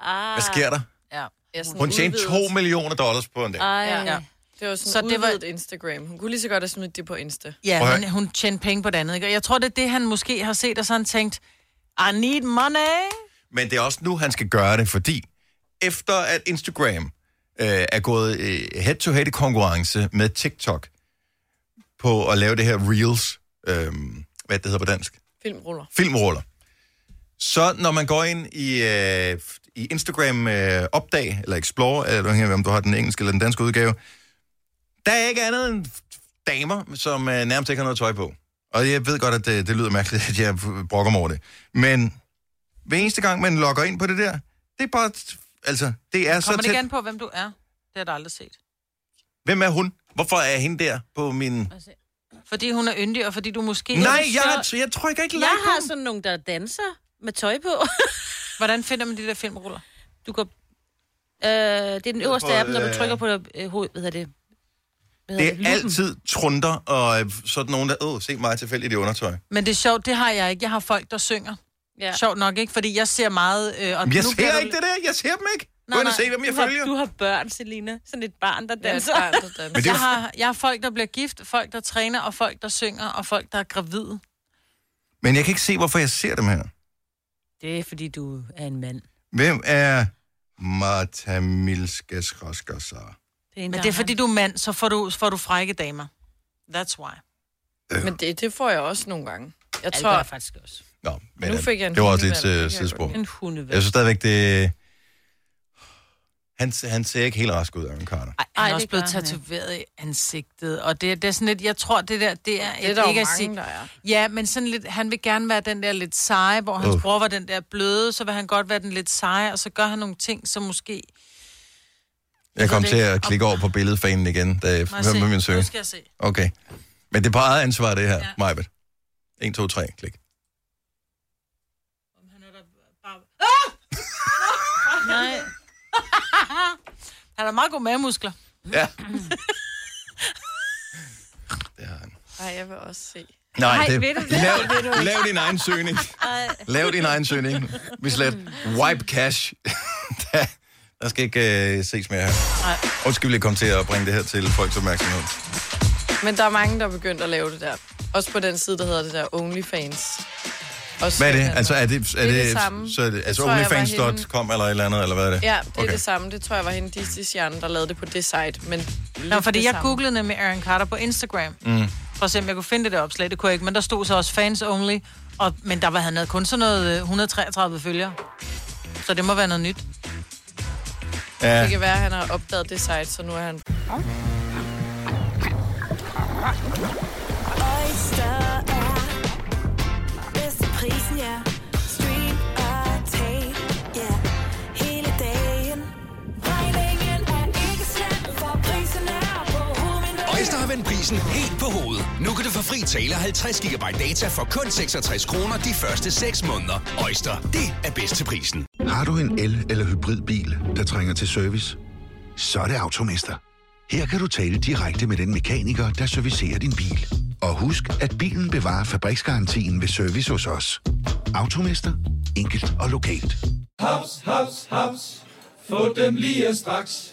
[SPEAKER 4] Ah.
[SPEAKER 1] hvad sker der?
[SPEAKER 3] Ja.
[SPEAKER 5] Ja,
[SPEAKER 1] Hun tjente 2 millioner dollars på en dag.
[SPEAKER 3] Ah.
[SPEAKER 4] Ej.
[SPEAKER 5] Ja. Det var sådan
[SPEAKER 3] Så
[SPEAKER 5] så
[SPEAKER 3] det
[SPEAKER 5] det
[SPEAKER 3] var-
[SPEAKER 5] var... Instagram. Hun kunne lige så godt have smidt det på Insta.
[SPEAKER 1] Prøv at
[SPEAKER 3] Ja,
[SPEAKER 1] høre.
[SPEAKER 3] men hun tjente penge på det andet, ikke? Og jeg tror, det er det, han måske har set, og så har han tænkt, I need money.
[SPEAKER 1] Men det er også nu, han skal gøre det, fordi efter at Instagram øh, er gået øh, head-to-head i konkurrence med TikTok på at lave det her Reels, øh, hvad det hedder på dansk?
[SPEAKER 5] Filmruller.
[SPEAKER 1] filmruller. Så når man går ind i, øh, i Instagram øh, Opdag, eller Explore, eller afhængig af, om du har den engelske eller den danske udgave, der er ikke andet end damer, som øh, nærmest ikke har noget tøj på. Og jeg ved godt, at det, det lyder mærkeligt, at jeg brokker mig over det. Men hver eneste gang, man logger ind på det der, det er bare... Altså, det er så
[SPEAKER 3] Kommer det
[SPEAKER 1] tæt.
[SPEAKER 3] ikke an på, hvem du er? Det har du aldrig set.
[SPEAKER 1] Hvem er hun? Hvorfor er hende der på min...
[SPEAKER 3] Fordi hun er yndig, og fordi du måske...
[SPEAKER 1] Nej, jeg, jeg trykker ikke
[SPEAKER 4] Jeg
[SPEAKER 1] like på
[SPEAKER 4] har sådan nogle, der danser med tøj på.
[SPEAKER 3] Hvordan finder man de der filmruller?
[SPEAKER 4] Du går... Øh, det er den øverste
[SPEAKER 1] På,
[SPEAKER 4] af dem, når
[SPEAKER 1] øh,
[SPEAKER 4] du trykker på øh, hovedet. Hvad hedder det? Hvad
[SPEAKER 1] Det
[SPEAKER 4] hedder
[SPEAKER 1] er altid trunder og øh, sådan nogen, der, åh, se mig tilfældigt i undertøj.
[SPEAKER 3] Men det er sjovt, det har jeg ikke. Jeg har folk, der synger.
[SPEAKER 4] Ja.
[SPEAKER 3] Sjovt nok, ikke? Fordi jeg ser meget... Øh, og
[SPEAKER 1] Men jeg
[SPEAKER 3] nu
[SPEAKER 1] ser
[SPEAKER 3] bliver
[SPEAKER 1] ikke det der. Jeg ser dem ikke.
[SPEAKER 3] Nej,
[SPEAKER 1] Gå ind og
[SPEAKER 3] nej.
[SPEAKER 1] se, hvem jeg
[SPEAKER 4] du,
[SPEAKER 1] følger.
[SPEAKER 4] har, du har børn, Selina. Sådan et barn, der
[SPEAKER 5] Ja,
[SPEAKER 4] danser.
[SPEAKER 5] barn, der danser.
[SPEAKER 1] Men det er
[SPEAKER 3] jeg,
[SPEAKER 1] jo-
[SPEAKER 3] har, jeg har folk, der bliver gift, folk, der træner, og folk, der synger, og folk, der er gravide.
[SPEAKER 1] Men jeg kan ikke se, hvorfor jeg ser dem her.
[SPEAKER 4] Det er, fordi du er en mand.
[SPEAKER 1] Hvem er Marta Milskes Roskosar?
[SPEAKER 4] Det er en,
[SPEAKER 3] Men
[SPEAKER 4] der
[SPEAKER 3] det er,
[SPEAKER 4] har-
[SPEAKER 3] fordi du er mand, så får du, så får du frække damer. That's why.
[SPEAKER 5] Men det, det får jeg også nogle gange. Jeg
[SPEAKER 4] Ja, det
[SPEAKER 5] tror...
[SPEAKER 4] gør jeg faktisk også.
[SPEAKER 1] Nå, men
[SPEAKER 5] Nu
[SPEAKER 1] øh,
[SPEAKER 5] fik jeg en
[SPEAKER 1] det var også
[SPEAKER 5] hundevalg.
[SPEAKER 1] lidt
[SPEAKER 5] Det kan
[SPEAKER 1] øh,
[SPEAKER 5] jeg
[SPEAKER 1] sidespor.
[SPEAKER 5] godt
[SPEAKER 4] En hundevalg.
[SPEAKER 1] Jeg synes stadigvæk, det... Han, han ser ikke helt rask ud, Aaron Carter.
[SPEAKER 4] Ej,
[SPEAKER 3] Ej, han er
[SPEAKER 4] det
[SPEAKER 3] også blevet
[SPEAKER 4] gør han
[SPEAKER 3] tatoveret i ansigtet, og det, det er sådan lidt, jeg tror, det der, det er...
[SPEAKER 5] Det er der jo
[SPEAKER 3] at
[SPEAKER 5] mange,
[SPEAKER 3] sige-
[SPEAKER 5] der er.
[SPEAKER 3] Ja, men sådan lidt, han vil gerne være den der lidt seje, hvor hans
[SPEAKER 1] Uh.
[SPEAKER 3] uh. bror var den der bløde, så vil han godt være den lidt seje, og så gør han nogle ting, som måske...
[SPEAKER 1] Jeg kom
[SPEAKER 3] ved
[SPEAKER 1] til
[SPEAKER 3] det
[SPEAKER 1] at
[SPEAKER 3] ikke.
[SPEAKER 1] klikke over på billedfanen igen, da jeg
[SPEAKER 3] Må jeg se?
[SPEAKER 1] med min søn.
[SPEAKER 3] Nu skal jeg se.
[SPEAKER 1] Okay. Men det er på eget ansvar, det her, ja. Majbet. 1, 2, 3, klik.
[SPEAKER 3] Nej. han har meget gode mavemuskler.
[SPEAKER 1] Ja.
[SPEAKER 5] Ej, jeg vil også se.
[SPEAKER 1] Nej,
[SPEAKER 5] Ej,
[SPEAKER 1] det,
[SPEAKER 5] ved du det?
[SPEAKER 1] lav,
[SPEAKER 5] Ved du det?
[SPEAKER 1] lav din egen søgning.
[SPEAKER 5] Ej.
[SPEAKER 1] Lav din egen søgning. Vi slet.
[SPEAKER 5] Mm.
[SPEAKER 1] Wipe cash. der, der skal ikke øh, ses mere her. Undskyld, vi komme til at bringe det her til folks opmærksomhed.
[SPEAKER 5] Men der er mange, der er begyndt at lave det der. Også på den side, der hedder det der OnlyFans. Også
[SPEAKER 1] Hvad er det?
[SPEAKER 5] sådan,
[SPEAKER 1] Altså, er det, er
[SPEAKER 5] Det er
[SPEAKER 1] det,
[SPEAKER 5] det samme.
[SPEAKER 1] Så, er det-
[SPEAKER 5] Det
[SPEAKER 1] altså
[SPEAKER 5] tror jeg var hende.
[SPEAKER 1] onlyfans.com eller et eller andet, eller hvad er det?
[SPEAKER 5] Ja, det er
[SPEAKER 1] okay.
[SPEAKER 5] okay. det samme. Det tror jeg var hende Disney-stjerne, der lavede det på det site. Men
[SPEAKER 3] Nå,
[SPEAKER 5] lidt
[SPEAKER 3] fordi
[SPEAKER 5] det
[SPEAKER 3] jeg
[SPEAKER 5] samme.
[SPEAKER 3] googlede nemlig Aaron Carter på Instagram.
[SPEAKER 1] Mm.
[SPEAKER 3] For at se, om jeg kunne finde det der opslag. Det kunne jeg ikke, men der stod så også fans only. Og, men der var han havde kun sådan noget øh, 133 følgere. Så det må være noget nyt.
[SPEAKER 1] Ja.
[SPEAKER 5] Det kan være, at han har opdaget det site, så nu er han...
[SPEAKER 12] Oyster er bedst til prisen, ja. Stream og tag, ja. Hele dagen. Regningen er ikke slem, for prisen er på
[SPEAKER 13] Øjster har vendt prisen helt på hovedet. Nu kan du få fri tale 50 GB data for kun 66 kroner de første 6 måneder. Øjster, det er bedst til prisen.
[SPEAKER 14] Har du en el- eller hybridbil, der trænger til service? Så er det Automester. Her kan du tale direkte med den mekaniker, der servicerer din bil. Og husk, at bilen bevarer fabriksgarantien ved service hos os. Automester. Enkelt og lokalt.
[SPEAKER 15] Haps, haps, haps. Få dem lige straks.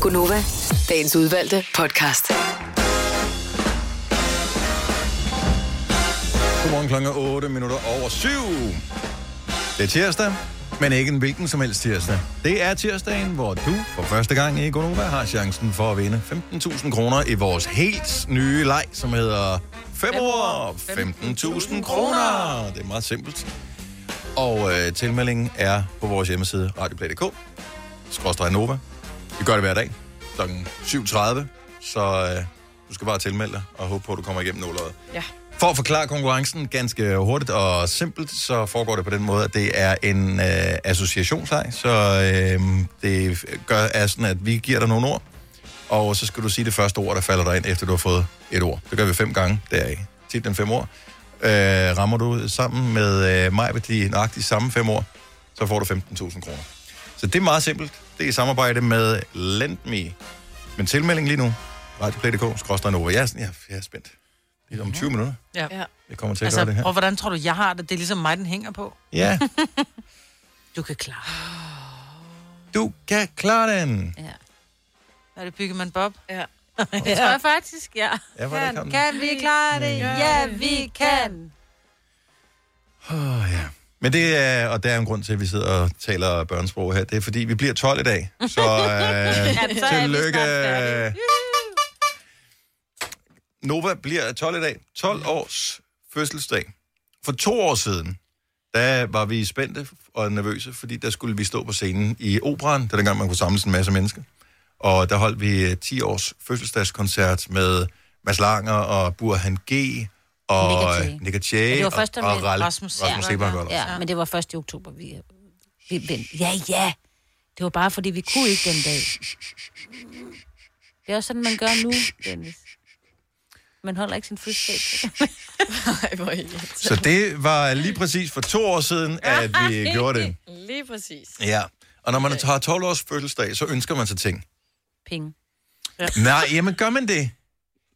[SPEAKER 2] Gunova, dagens udvalgte podcast.
[SPEAKER 1] Godmorgen klokken er 8 minutter over 7. Det er tirsdag, men ikke en hvilken som helst tirsdag. Det er tirsdagen, hvor du for første gang i Gonova har chancen for at vinde 15.000 kroner i vores helt nye leg, som hedder 5 år 15.000 kroner. Det er meget simpelt. Og øh, tilmeldingen er på vores hjemmeside radioplay.dk. Skråstrej Nova. Vi gør det hver dag kl. 7.30, så øh, du skal bare tilmelde dig og håbe på, at du kommer igennem nåløjet.
[SPEAKER 5] Ja.
[SPEAKER 1] For at forklare konkurrencen ganske hurtigt og simpelt, så foregår det på den måde, at det er en øh, associationsleg. Så øh, det gør, er sådan, at vi giver dig nogle ord, og så skal du sige det første ord, der falder dig ind, efter du har fået et ord. Det gør vi fem gange deraf. Tit den fem ord. Øh, rammer du sammen med øh, mig ved de nøjagtige samme fem ord, så får du 15.000 kroner. Så det er meget simpelt. Det er i samarbejde med LendMe. Men tilmelding lige nu. Radioplay.dk, skråstrej Nova. Jeg er, sådan, jeg, jeg er spændt. Det er om 20 minutter.
[SPEAKER 3] Ja. ja.
[SPEAKER 1] Jeg kommer til at gøre det her.
[SPEAKER 3] Og hvordan tror du, jeg har det? Det er ligesom mig, den hænger på.
[SPEAKER 1] Ja.
[SPEAKER 3] du kan klare det.
[SPEAKER 1] Du kan klare den. Ja.
[SPEAKER 3] Er det Byggemand Bob?
[SPEAKER 5] Ja.
[SPEAKER 4] Det tror jeg faktisk, ja.
[SPEAKER 1] Ja, hvor er det kommet?
[SPEAKER 4] kan vi klare det? Ja, vi kan.
[SPEAKER 1] Oh, ja. Men det er, og der er en grund til, at vi sidder og taler børnesprog her. Det er, fordi vi bliver 12 i dag. Så øh,
[SPEAKER 16] vi snart
[SPEAKER 1] tillykke. Nova bliver 12 i dag. 12 års fødselsdag. For to år siden, der var vi spændte og nervøse, fordi der skulle vi stå på scenen i operan. Det er dengang, man kunne samle en masse mennesker. Og der holdt vi øh, 10 års fødselsdagskoncert med Mads Langer og Burhan G. og
[SPEAKER 4] Nick og Jay.
[SPEAKER 1] Nick
[SPEAKER 4] Men
[SPEAKER 1] og Jay
[SPEAKER 4] det var
[SPEAKER 1] og,
[SPEAKER 4] først,
[SPEAKER 1] og
[SPEAKER 4] om lidt-
[SPEAKER 1] Ralle-
[SPEAKER 4] Rasmus,
[SPEAKER 1] Rasmus
[SPEAKER 4] ja,
[SPEAKER 1] Sebak var der.
[SPEAKER 4] ja, men det var først i oktober, vi, vi vendte. Ja, ja. Det var bare, fordi vi kunne ikke den dag. Det er også sådan, man gør nu, Dennis. Man holder ikke sin fødselsdag.
[SPEAKER 5] Nej, hvor irriterende.
[SPEAKER 1] Så det var lige præcis for to år siden, at vi gjorde det.
[SPEAKER 5] Lige præcis.
[SPEAKER 1] Ja. Og når man har 12 års fødselsdag, så ønsker man sig ting.
[SPEAKER 4] Penge.
[SPEAKER 1] Nej, jamen gør man det?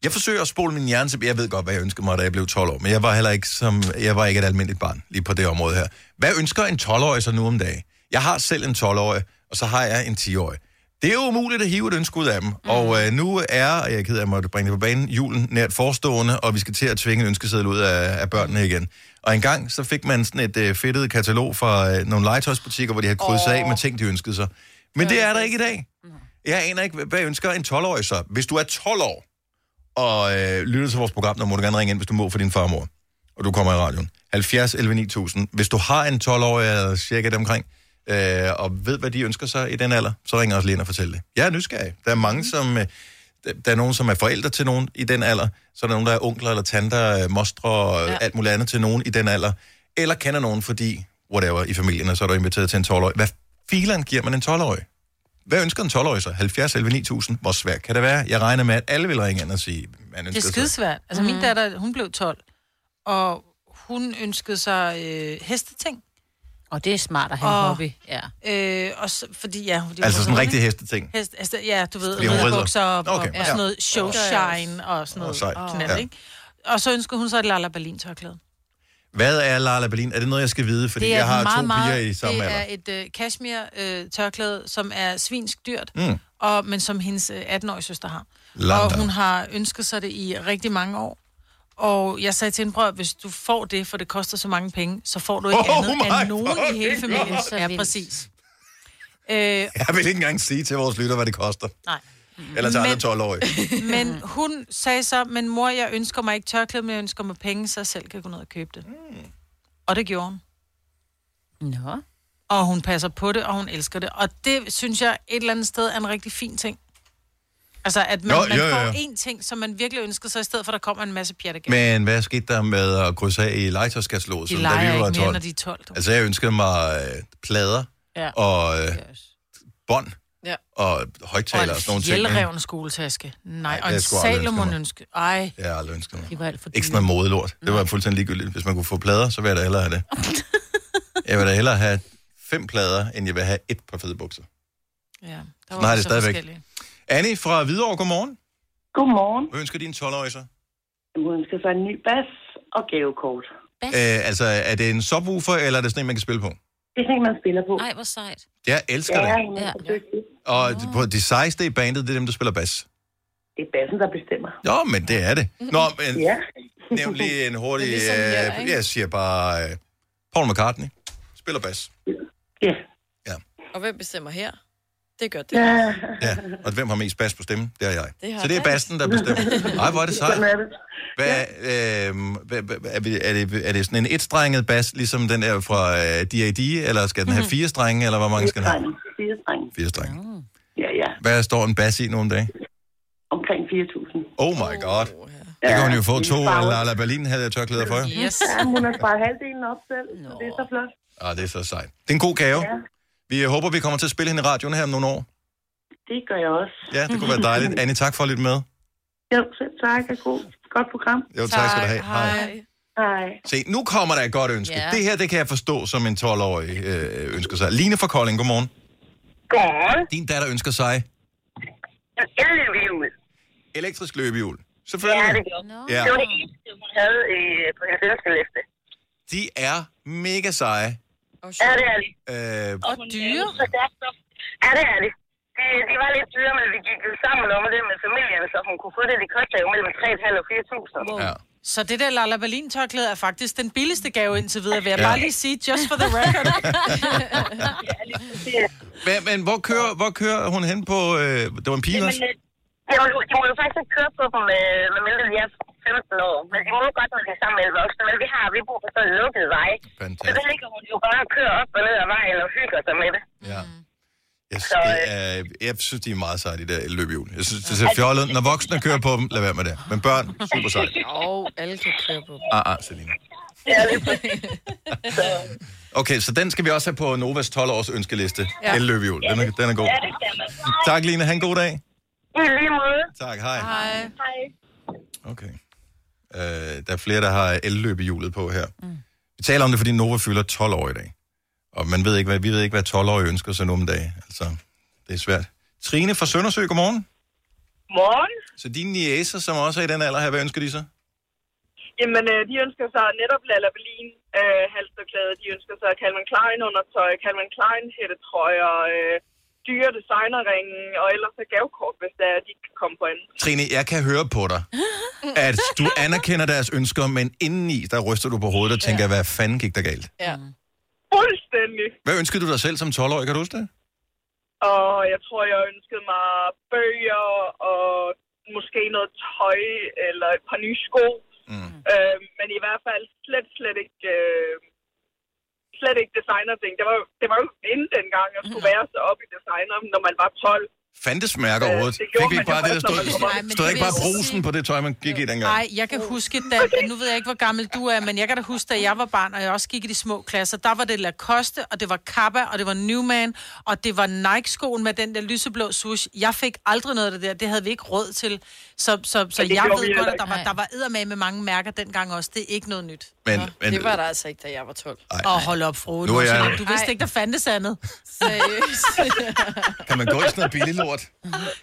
[SPEAKER 1] Jeg forsøger at spole min hjerne tilbage. Jeg ved godt, hvad jeg ønskede mig, da jeg blev 12 år, men jeg var heller ikke, som, jeg var ikke et almindeligt barn lige på det område her. Hvad ønsker en 12-årig så nu om dagen? Jeg har selv en 12-årig, og så har jeg en 10-årig. Det er jo umuligt at hive et ønske ud af dem. Mm. Og øh, nu er, og jeg er ked af at måtte bringe det på banen, julen nært forestående, og vi skal til at tvinge en ønskeseddel ud af, af børnene igen. Og engang så fik man sådan et øh, fedtet katalog fra øh, nogle legetøjsbutikker, hvor de havde krydset oh. af med ting, de ønskede sig. Men det er der ikke i dag. Jeg aner ikke, hvad- hvad ønsker en 12-årig så. Hvis du er 12 år og øh, lytter til vores program, så må du gerne ringe ind, hvis du må for din farmor, og du kommer i radioen. 70 11 9000. Hvis du har en 12-årig eller cirka dem omkring, øh, og ved, hvad de ønsker sig i den alder, så ringer også lige ind og fortæl det. Jeg er nysgerrig. Der er mange, som... Øh, der- der er nogen, som er forældre til nogen i den alder, så er der nogen, der er onkler eller tanter, øh, mostre og ja. alt muligt andet til nogen i den alder, eller kender nogen, fordi whatever, i familien, og så er du inviteret til en 12-årig. Hvad filen giver man en 12-årig? Hvad ønsker en 12-årig så? 70 11 9000? Hvor svært kan det være? Jeg regner med, at alle vil ringe ind og sige, man
[SPEAKER 3] Det er
[SPEAKER 1] ønsker sig.
[SPEAKER 3] skidesvært. Altså, min datter, hun blev 12, og hun ønskede sig øh, hesteting.
[SPEAKER 4] Og det er smart at have en
[SPEAKER 3] Og-
[SPEAKER 4] hobby. Ja.
[SPEAKER 3] Øh, og så, fordi, ja, det var
[SPEAKER 1] Altså sådan
[SPEAKER 3] noget-
[SPEAKER 1] rigtig hesteting.
[SPEAKER 3] Hest, altså, ja, du ved,
[SPEAKER 1] Fordi hun rider.
[SPEAKER 3] ridderbukser op, okay, og,
[SPEAKER 1] Okay,
[SPEAKER 3] og
[SPEAKER 1] ja.
[SPEAKER 3] sådan noget showshine og sådan
[SPEAKER 1] Åh,
[SPEAKER 3] noget
[SPEAKER 1] sejt.
[SPEAKER 3] og knald,
[SPEAKER 1] Ja.
[SPEAKER 3] ikke? Og så ønskede hun så et Lala Berlin tørklæde.
[SPEAKER 1] Hvad er Lala Berlin? Er det noget, jeg skal vide? Fordi jeg har to piger i samme
[SPEAKER 3] det
[SPEAKER 1] alder.
[SPEAKER 3] er et øh, cashmere øh, tørklæde, som er svinsk dyrt,
[SPEAKER 1] Mm.
[SPEAKER 3] mm. og, men som hendes øh, 18-årige søster har.
[SPEAKER 1] Lala.
[SPEAKER 3] Og hun har ønsket sig det i rigtig mange år. Og jeg sagde til hende, prøv at, hvis du får det, for det koster så mange penge, så får du ikke
[SPEAKER 1] Oh my
[SPEAKER 3] andet end nogen i hele
[SPEAKER 1] fucking
[SPEAKER 3] familien.
[SPEAKER 1] God.
[SPEAKER 3] Ja, præcis. Øh,
[SPEAKER 1] Jeg vil ikke engang sige til vores lytter, hvad det koster.
[SPEAKER 3] Nej.
[SPEAKER 1] Eller til
[SPEAKER 3] Mm. Men-
[SPEAKER 1] andre 12-årige.
[SPEAKER 3] Men hun sagde så, men mor, jeg ønsker mig ikke tørklæde, men jeg ønsker mig penge, så jeg selv kan gå ned og købe det. Mm. Og det gjorde hun.
[SPEAKER 4] Nå.
[SPEAKER 3] Og hun passer på det, og hun elsker det. Og det, synes jeg, et eller andet sted er en rigtig fin ting. Altså, at man,
[SPEAKER 1] Jo,
[SPEAKER 3] jo, man
[SPEAKER 1] jo,
[SPEAKER 3] jo,
[SPEAKER 1] jo.
[SPEAKER 3] får én ting, som man virkelig ønsker sig, i stedet for, at der kommer en masse pjat igen.
[SPEAKER 1] Men hvad skete der med at krydse af i legetøjskataloget,
[SPEAKER 3] De
[SPEAKER 1] som
[SPEAKER 3] leger
[SPEAKER 1] da vi
[SPEAKER 3] ikke
[SPEAKER 1] var
[SPEAKER 3] mere,
[SPEAKER 1] 12?
[SPEAKER 3] når de er 12. Du.
[SPEAKER 1] Altså, jeg ønskede mig øh, plader
[SPEAKER 3] Ja.
[SPEAKER 1] og øh, bånd
[SPEAKER 3] Ja.
[SPEAKER 1] og højtaler og, sådan
[SPEAKER 3] og
[SPEAKER 1] nogle
[SPEAKER 3] en
[SPEAKER 1] ting. ikke?
[SPEAKER 3] fjelrevne skoletaske. Nej,
[SPEAKER 1] det
[SPEAKER 3] og
[SPEAKER 1] har
[SPEAKER 3] en
[SPEAKER 1] jeg sgu aldrig ønsket mig.
[SPEAKER 3] Salomon ønske. Ej,
[SPEAKER 1] Det har jeg aldrig ønsket mig.
[SPEAKER 4] de var alt for
[SPEAKER 1] Ikke sådan noget modelort. Det var fuldstændig ligegyldigt. Hvis man kunne få plader, så ville jeg da hellere have det. jeg vil da hellere have fem plader, end jeg vil have et par fede bukser.
[SPEAKER 3] Ja, der
[SPEAKER 1] Nej, det er
[SPEAKER 3] så
[SPEAKER 1] stadigvæk.
[SPEAKER 3] forskellige.
[SPEAKER 1] Annie fra Hvidovre, godmorgen.
[SPEAKER 16] Godmorgen.
[SPEAKER 1] Hvad ønsker din 12-årige så?
[SPEAKER 16] Hun ønsker sig en ny bas og gavekort.
[SPEAKER 1] Æ, altså, er det en subwoofer, eller er det sådan en, man kan spille på?
[SPEAKER 16] Det er sådan, man spiller på.
[SPEAKER 4] Nej, hvor sejt.
[SPEAKER 1] Jeg elsker ja. det.
[SPEAKER 16] Ja.
[SPEAKER 1] Og på de sejeste i bandet, det er dem, der spiller bas.
[SPEAKER 16] Det er bassen, der bestemmer.
[SPEAKER 1] Nå, men det er det. Nå, men
[SPEAKER 16] Ja.
[SPEAKER 1] nævn lige en hurtig...
[SPEAKER 16] Det er ligesom her,
[SPEAKER 1] øh,
[SPEAKER 16] ikke?
[SPEAKER 1] jeg siger bare... Øh, Paul McCartney spiller bas.
[SPEAKER 5] Og hvem bestemmer her? Det gør det.
[SPEAKER 16] Ja.
[SPEAKER 1] Ja, og hvem har mest bas på stemmen? Det er jeg.
[SPEAKER 5] Det har
[SPEAKER 1] så det er
[SPEAKER 5] jeg.
[SPEAKER 1] bassen, der bestemmer. Nej, hvor er det sejt.
[SPEAKER 16] Sådan er det.
[SPEAKER 1] Hvad, øh, hvad, hvad, er, vi- er, det, er det sådan en etstrenget bas, ligesom den der fra øh, D.A.D., eller skal
[SPEAKER 5] Mhm.
[SPEAKER 1] den have fire strenge, eller hvor mange skal den have?
[SPEAKER 16] Fire drenge.
[SPEAKER 1] Fire strenge.
[SPEAKER 16] Ja, ja.
[SPEAKER 1] Hvad står en bas i nogle dage?
[SPEAKER 16] Omkring 4.000.
[SPEAKER 1] Oh my god. Det kan hun jo få to, eller La Berlin havde jeg tørklæder for. jo.
[SPEAKER 16] Ja, hun har sparet halvdelen op selv, så det er så flot.
[SPEAKER 1] Ah, det er så sejt. Det er en god gave. Vi øh, håber, vi kommer til at spille hende i radioen her om nogle år.
[SPEAKER 16] Det gør jeg også.
[SPEAKER 1] Ja, det kunne være dejligt. Annie, tak for at lytte med.
[SPEAKER 16] Jo, selv tak. Og god, godt program.
[SPEAKER 1] Jo, tak skal du have. Hej.
[SPEAKER 16] Hej.
[SPEAKER 1] Se, nu kommer der et godt ønske.
[SPEAKER 16] Ja.
[SPEAKER 1] Yeah. Det her, det kan jeg forstå, som en 12-årig øh, ønsker sig. Line fra Kolding, godmorgen.
[SPEAKER 17] Godmorgen.
[SPEAKER 1] Din datter ønsker sig
[SPEAKER 17] Jeg løb i ud.
[SPEAKER 1] elektrisk løbehjul.
[SPEAKER 17] Ja,
[SPEAKER 1] Selvfølgelig.
[SPEAKER 17] det gjorde hun.
[SPEAKER 1] Ja.
[SPEAKER 17] Det var det eneste, hun havde øh, på hendes ønskeliste.
[SPEAKER 1] De er mega seje.
[SPEAKER 17] Ja, det er det.
[SPEAKER 1] Øh,
[SPEAKER 17] Og dyre. Så derfor, ja, det er det. De, de var lidt dyre, men vi gik jo sammen om det med familien, så hun kunne få det, det kostede jo mellem 3.500 og 4.000.
[SPEAKER 1] Ja.
[SPEAKER 3] Så det der Lala Berlin tørklæde er faktisk den billigste gave indtil videre, vil jeg bare lige sige, just for the record.
[SPEAKER 1] men, men hvor kører, hvor kører hun hen på... Øh, det var en pige også?
[SPEAKER 17] Jamen, øh, de må jo faktisk ikke køre på dem med, med mindre de er 15 år. Men de må jo godt, når de er sammen med alle voksne. Men vi har, vi bor på sådan en lukket vej. Så der ligger hun jo bare og kører op og ned ad vejen og hygger sig med det.
[SPEAKER 1] Ja.
[SPEAKER 5] Mm.
[SPEAKER 1] Jeg, synes, det
[SPEAKER 17] øh,
[SPEAKER 1] er, jeg synes, de er meget seje, de der løbehjul. Jeg synes, det ser
[SPEAKER 17] Altså-
[SPEAKER 1] fjollet. ud. Når voksne kører på dem, lad være med det. Men børn, super sejt.
[SPEAKER 5] Og alle kan køre på.
[SPEAKER 1] Ah, ah, Selina. Okay, så den skal vi også have på Novas 12-års ønskeliste.
[SPEAKER 17] Ja.
[SPEAKER 1] Ja. Løbehjul. Den er, den er god.
[SPEAKER 17] Ja, det skal man.
[SPEAKER 1] Tak, Line. Ha' en god dag.
[SPEAKER 17] I lige måde.
[SPEAKER 1] Tak, hej.
[SPEAKER 17] Hej. Hej.
[SPEAKER 1] Okay. Øh, der er flere, der har elløbehjulet på her. Mm. Vi taler om det, fordi Nova fylder 12 år i dag. Og man ved ikke, hvad, vi ved ikke, hvad 12-årige ønsker sig nu om dagen. Altså, det er svært. Trine fra Søndersø, godmorgen.
[SPEAKER 17] Morgen.
[SPEAKER 1] Så dine niæser, som også er i den alder her, hvad ønsker de så?
[SPEAKER 18] Jamen, øh, de ønsker sig netop Lala Berlin øh, halstørklæde. De ønsker sig Calvin Klein undertøj, Calvin Klein hættetrøjer, øh, dyre designerringen, og ellers så gavekort, hvis der er, de ikke kan komme på anden.
[SPEAKER 1] Trine, jeg kan høre på dig, at du anerkender deres ønsker, men indeni, der ryster du på hovedet og tænker, hvad fanden gik der galt?
[SPEAKER 18] Ja. Fuldstændig.
[SPEAKER 1] Hvad ønskede du dig selv som 12-årig, kan du huske det?
[SPEAKER 18] Og jeg tror, jeg ønskede mig bøger og måske noget tøj eller et par nye sko. Mm. Øh, men i hvert fald slet, slet ikke, øh, slet ikke designer-ting. Det var, jo- det var jo inden dengang, jeg skulle
[SPEAKER 5] Mm.
[SPEAKER 18] være så op i designer, når man var 12.
[SPEAKER 1] Fandtes mærker
[SPEAKER 18] Øh,
[SPEAKER 1] overhovedet?
[SPEAKER 18] det gjorde
[SPEAKER 1] Fik vi ikke
[SPEAKER 18] man
[SPEAKER 1] bare
[SPEAKER 18] jo
[SPEAKER 1] det, der
[SPEAKER 18] først, når man kom
[SPEAKER 1] stod,
[SPEAKER 18] op. Nej, men
[SPEAKER 1] stod der
[SPEAKER 18] det
[SPEAKER 1] ikke
[SPEAKER 18] vil
[SPEAKER 1] bare
[SPEAKER 18] jeg så
[SPEAKER 1] brusen på det tøj, man gik i dengang?
[SPEAKER 3] Nej, jeg kan huske, da, nu ved jeg ikke, hvor gammel du er, men jeg kan da huske, da jeg var barn, og jeg også gik i de små klasser, der var det Lacoste, og det var Kappa, og det var Newman, og det var Nike-skoen med den der lyseblå swoosh. Jeg fik aldrig noget af det der, det havde vi ikke råd til. Så, så, så
[SPEAKER 18] Ja, det
[SPEAKER 3] jeg
[SPEAKER 18] gjorde vi
[SPEAKER 3] ved godt,
[SPEAKER 18] heller
[SPEAKER 3] at der
[SPEAKER 18] ikke.
[SPEAKER 3] var, der var eddermame med mange mærker dengang også. Det er ikke noget nyt.
[SPEAKER 1] Men, men,
[SPEAKER 5] Det var der altså ikke, da jeg var 12.
[SPEAKER 3] Åh, hold op, Frode.
[SPEAKER 1] Nu er
[SPEAKER 3] Du,
[SPEAKER 1] jeg-
[SPEAKER 3] jeg... du vidste ikke, der fandtes andet.
[SPEAKER 5] Seriøst.
[SPEAKER 1] Kan man gå i sådan noget billig lort?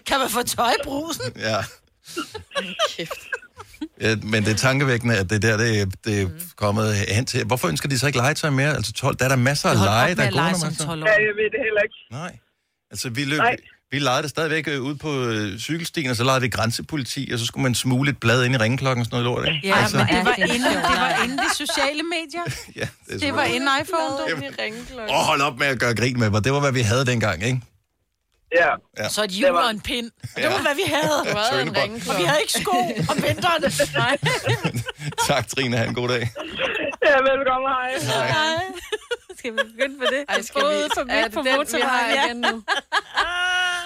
[SPEAKER 3] kan man få tøj i brusen?
[SPEAKER 1] Ja.
[SPEAKER 5] Kæft.
[SPEAKER 1] Ja, men det er tankevækkende, at det er der, det, det er kommet hen til. Hvorfor ønsker de så ikke legetøj mere? Altså 12, der er der masser af lege, der er gode, når man så...
[SPEAKER 18] Ja, jeg ved det heller ikke.
[SPEAKER 1] Nej. Altså, vi løb...
[SPEAKER 18] Nej.
[SPEAKER 1] Vi legede det stadigvæk øh, ude på øh, cykelstien, og så legede vi grænsepoliti, og så skulle man smule et blad ind i ringklokken og sådan noget lort, ikke?
[SPEAKER 3] Ja,
[SPEAKER 1] altså,
[SPEAKER 3] men det var
[SPEAKER 4] det er
[SPEAKER 3] inden, det var
[SPEAKER 4] sjovt.
[SPEAKER 3] inden de sociale medier.
[SPEAKER 1] ja, det, er
[SPEAKER 3] Det var inden iPhone, du.
[SPEAKER 1] Jamen. Åh, oh, hold op med at gøre grin med mig. Det var, hvad vi havde dengang, ikke?
[SPEAKER 18] Ja.
[SPEAKER 1] ja.
[SPEAKER 3] Så et hjul og en pind. Det var,
[SPEAKER 1] Ja.
[SPEAKER 3] hvad vi havde.
[SPEAKER 1] Du havde en Tøndebånd.
[SPEAKER 3] Og
[SPEAKER 1] ringklokke.
[SPEAKER 3] vi havde ikke sko om vinteren. Nej.
[SPEAKER 1] Tak, Trine. Ha' en god dag.
[SPEAKER 18] Ja, velkommen, hej.
[SPEAKER 4] Hej. Skal vi begynde på det?
[SPEAKER 5] Ej, skal vi... Er det den, vi har igen nu?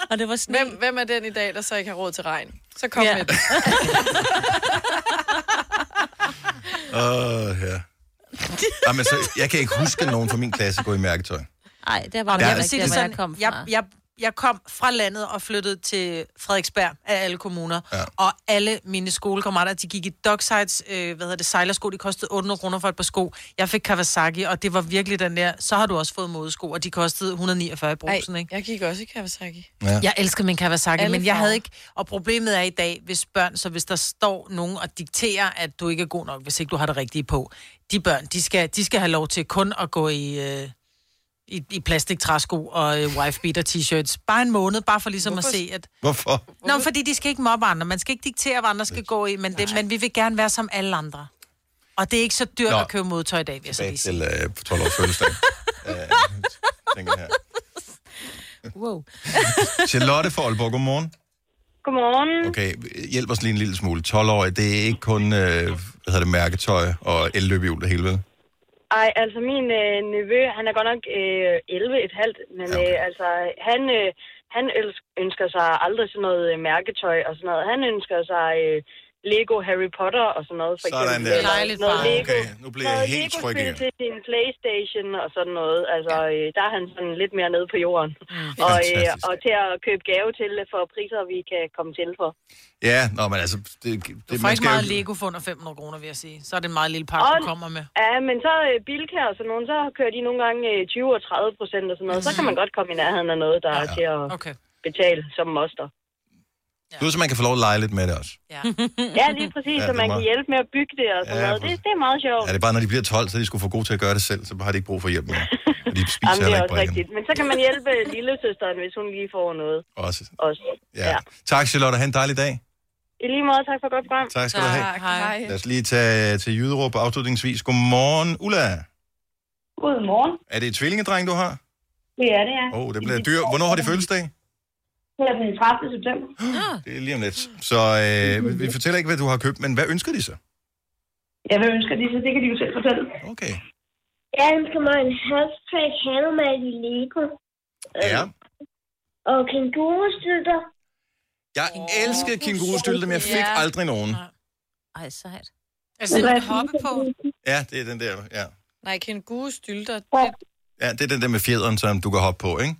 [SPEAKER 4] Og det var sne.
[SPEAKER 5] Hvem, hvem er den i dag, der så ikke har råd til regn? Så kom
[SPEAKER 4] Ja.
[SPEAKER 5] ja. med den.
[SPEAKER 1] Åh, oh, ja. Ej, men så, jeg kan ikke huske at nogen fra min klasse gå i mærketøj.
[SPEAKER 4] Nej, det var
[SPEAKER 1] Der-
[SPEAKER 4] der,
[SPEAKER 1] Jeg vil sige
[SPEAKER 4] ikke,
[SPEAKER 1] det
[SPEAKER 4] hvor jeg kom fra.
[SPEAKER 3] jeg, jeg, jeg kom fra landet og flyttede til Frederiksberg af alle kommuner. Ja. Og alle mine skolekammerater, de gik i Docksides, øh, hvad hedder det, sejlersko. De kostede 800 kroner for et par sko. Jeg fik Kawasaki, og det var virkelig den der, så har du også fået modesko, og de kostede 149 i
[SPEAKER 5] Ej,
[SPEAKER 3] brusen, ikke?
[SPEAKER 5] jeg gik også i Kawasaki.
[SPEAKER 1] Ja.
[SPEAKER 3] Jeg elsker min Kawasaki,
[SPEAKER 5] Alle
[SPEAKER 3] men jeg
[SPEAKER 5] farver.
[SPEAKER 3] havde ikke... Og problemet er i dag, hvis børn, så hvis der står nogen og dikterer, at du ikke er god nok, hvis ikke du har det rigtige på. De børn, de skal, de skal have lov til kun at gå i... Øh, i, i plastiktræsko og øh, wifebeater t-shirts. Bare en måned, bare for ligesom Hvorfor? at se, at...
[SPEAKER 1] Hvorfor?
[SPEAKER 3] Nå, fordi de skal ikke mobbe andre. Man skal ikke diktere, hvad andre skal gå i, men, det, men vi vil gerne være som alle andre. Og det er ikke så dyrt
[SPEAKER 1] Nå.
[SPEAKER 3] Nå. at købe modtøj i dag, vil jeg så
[SPEAKER 1] Tilbage
[SPEAKER 3] lige sige.
[SPEAKER 1] til øh, 12-års fødselsdag. Øh, tænker jeg her.
[SPEAKER 4] Wow.
[SPEAKER 1] Charlotte fra Aalborg, godmorgen.
[SPEAKER 19] Godmorgen.
[SPEAKER 1] Okay, hjælp os lige en lille smule. 12 år, det er ikke kun øh, hvad hedder det, mærketøj og elløbehjul det hele ved.
[SPEAKER 19] Ej, altså min øh, nevø, han er godt nok øh, 11 et halvt, men ja, okay. øh, altså han, øh, han øls- ønsker sig aldrig sådan noget øh, mærketøj og sådan noget. Han ønsker sig øh, Lego Harry Potter og sådan noget. For
[SPEAKER 1] Sådan
[SPEAKER 19] eksempel.
[SPEAKER 1] der.
[SPEAKER 19] Eller
[SPEAKER 1] Dejligt,
[SPEAKER 19] noget
[SPEAKER 1] far.
[SPEAKER 19] Lego,
[SPEAKER 1] Okay, nu bliver jeg
[SPEAKER 19] noget
[SPEAKER 1] helt tryg
[SPEAKER 19] Lego-spil
[SPEAKER 1] igen.
[SPEAKER 19] til sin Playstation og sådan noget. Altså, øh, der er han sådan lidt mere nede på jorden.
[SPEAKER 5] Mm.
[SPEAKER 19] og, øh,
[SPEAKER 1] Fantastisk.
[SPEAKER 19] og til at købe gave til for priser, vi kan komme til for.
[SPEAKER 1] Ja, nå, men altså... Det, det,
[SPEAKER 3] Du får
[SPEAKER 1] man
[SPEAKER 3] ikke
[SPEAKER 1] skal
[SPEAKER 3] meget
[SPEAKER 1] jo-
[SPEAKER 3] Lego for under 500 kroner, vil jeg sige. Så er det en meget lille pakke, du
[SPEAKER 19] Og-
[SPEAKER 3] kommer med.
[SPEAKER 19] Ja, men så øh, Bilka og sådan nogen, så kører de nogle gange øh, 20 og 30 procent og sådan noget. Så kan man godt komme i nærheden af noget, der ja, ja. er til at
[SPEAKER 3] okay.
[SPEAKER 19] betale som moster.
[SPEAKER 1] Du ved, så man kan få lov at lege lidt med det også.
[SPEAKER 3] Ja,
[SPEAKER 19] ja lige præcis, ja,
[SPEAKER 1] Ja, det
[SPEAKER 19] så
[SPEAKER 1] er
[SPEAKER 19] man
[SPEAKER 1] meget-
[SPEAKER 19] kan hjælpe med at bygge det og sådan
[SPEAKER 1] Ja,
[SPEAKER 19] ja, noget. Det,
[SPEAKER 1] præcis.
[SPEAKER 19] det er meget sjovt.
[SPEAKER 1] Ja, det er bare, når de bliver 12, så er de skulle få gode til at gøre det selv, så har de ikke brug for hjælp mere. Og de spiser
[SPEAKER 19] Jamen, det
[SPEAKER 1] heller
[SPEAKER 19] er
[SPEAKER 1] ikke
[SPEAKER 19] også
[SPEAKER 1] brækken.
[SPEAKER 19] rigtigt. Men så kan man hjælpe øh, lillesøsteren, hvis hun lige får noget
[SPEAKER 1] Også.
[SPEAKER 19] også.
[SPEAKER 1] Ja. ja. Tak, Charlotte. Ha' en dejlig dag.
[SPEAKER 19] I lige måde, tak for godt program.
[SPEAKER 1] Tak skal du have. Tak,
[SPEAKER 19] Hej.
[SPEAKER 1] Lad os lige tage til Jyderup afslutningsvis. Godmorgen, Ulla.
[SPEAKER 20] Godmorgen.
[SPEAKER 1] Er det et tvillingedreng, du har?
[SPEAKER 20] Det er det, ja.
[SPEAKER 1] Åh, oh, det bliver dyrt. Hvornår har de fødselsdag?
[SPEAKER 20] Det er den 30. september.
[SPEAKER 1] Det er lige om lidt. Så øh, vi- vi fortæller ikke, hvad du har købt, men hvad ønsker de så?
[SPEAKER 20] Jeg vil ønske de, så det kan de jo selv fortælle.
[SPEAKER 1] Okay.
[SPEAKER 21] Jeg ønsker mig en halvtræk havemand i Lego.
[SPEAKER 1] Ja.
[SPEAKER 21] Og kængurustylter.
[SPEAKER 1] Jeg elskede kængurustylter, men jeg fik
[SPEAKER 21] Ja.
[SPEAKER 1] aldrig nogen.
[SPEAKER 4] Ej, sejt.
[SPEAKER 3] Altså,
[SPEAKER 5] den
[SPEAKER 21] Hvad
[SPEAKER 5] der hoppe på.
[SPEAKER 1] Ja, det er den der, ja.
[SPEAKER 5] Nej, kan en gode stylter.
[SPEAKER 1] Ja, det er den der med fjederen, som du kan hoppe på, ikke?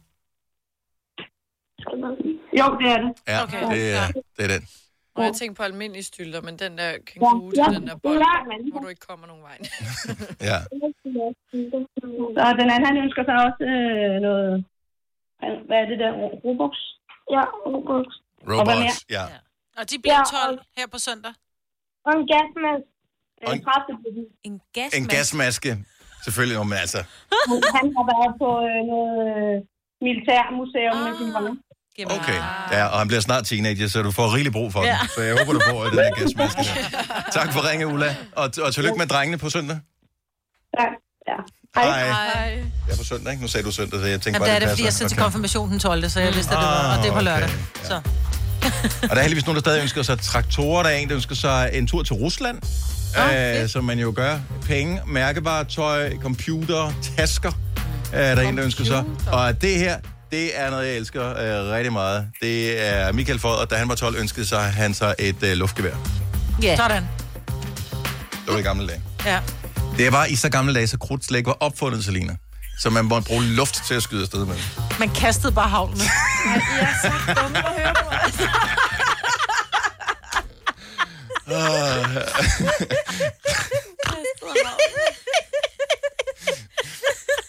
[SPEAKER 20] Jo, det er det.
[SPEAKER 1] Ja,
[SPEAKER 5] Okay.
[SPEAKER 1] det, er, det er den.
[SPEAKER 5] Og jeg tænkte på almindelige stylter, men den der kænguru til
[SPEAKER 20] Ja,
[SPEAKER 5] den der bold,
[SPEAKER 20] ja, men-
[SPEAKER 5] hvor du ikke kommer nogen vej.
[SPEAKER 1] Ja.
[SPEAKER 20] Og den anden, han ønsker sig også øh, noget... han- Hvad er det der? Robux? Ja, Robux. Og hvad mere?
[SPEAKER 1] Robots, ja.
[SPEAKER 3] Og de bliver
[SPEAKER 20] Ja,
[SPEAKER 3] 12 her på søndag.
[SPEAKER 20] Og en gasmask. Øh,
[SPEAKER 1] Og en-
[SPEAKER 20] En kraftig
[SPEAKER 4] En
[SPEAKER 1] En gasmaske. Selvfølgelig, Nå, men altså.
[SPEAKER 20] Han har været på øh, noget... øh, militærmuseum ah. med sin barn.
[SPEAKER 1] Okay.
[SPEAKER 3] Ah.
[SPEAKER 1] Ja, og han bliver snart teenager, så du får rigelig brug for ja.
[SPEAKER 20] Ja.
[SPEAKER 1] den. Så jeg håber, du får den her gasmaske. der. Tak for ringe, Ulla. Og, og tillykke med drengene på søndag.
[SPEAKER 20] Tak. Ja.
[SPEAKER 1] Hej. Ja, på søndag, ikke? Nu sagde du søndag, så jeg tænkte
[SPEAKER 3] Jamen,
[SPEAKER 1] bare,
[SPEAKER 3] der er
[SPEAKER 1] det
[SPEAKER 3] det,
[SPEAKER 1] passer.
[SPEAKER 3] fordi jeg sidder til
[SPEAKER 1] Okay.
[SPEAKER 3] konfirmation den 12., så jeg vidste, at det var, og
[SPEAKER 1] Ah,
[SPEAKER 3] det er på
[SPEAKER 1] okay.
[SPEAKER 3] lørdag. Så.
[SPEAKER 1] Og der er heldigvis nogen, der stadig ønsker sig traktorer. Der er en, der ønsker sig en tur til Rusland, ah, øh, som man jo gør. Penge, mærkevarer, tøj, computer, tasker. Øh, der er en, der ønsker sig. Og det her, det er noget, jeg elsker øh, rigtig meget. Det er Michael Fodder, da han var 12, ønskede sig han sig et øh, luftgevær.
[SPEAKER 3] Ja. Sådan.
[SPEAKER 1] Det var i gamle dage.
[SPEAKER 3] Ja.
[SPEAKER 1] Det var i så gamle dage, så krudt slet ikke var opfundet, Selina. Så man måtte bruge luft til at skyde afsted med.
[SPEAKER 3] Man kastede bare havlene. I er så dumme at høre på.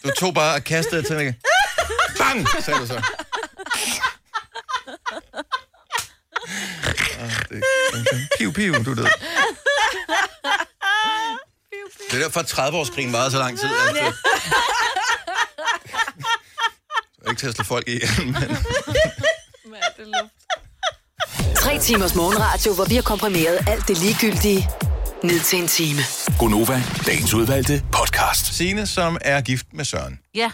[SPEAKER 1] Du tog bare og kastede til mig. Bang, sagde du så. Ah, det er piv, piv, du ved. Det er derfor, at 30-årskrigen varede så lang tid. At, det var ikke til at slå folk i. Men...
[SPEAKER 2] Tre timers morgenradio, hvor vi har komprimeret alt det ligegyldige ned til en time.
[SPEAKER 1] Gonova, dagens udvalgte podcast. Sine, som er gift med Søren.
[SPEAKER 4] Ja.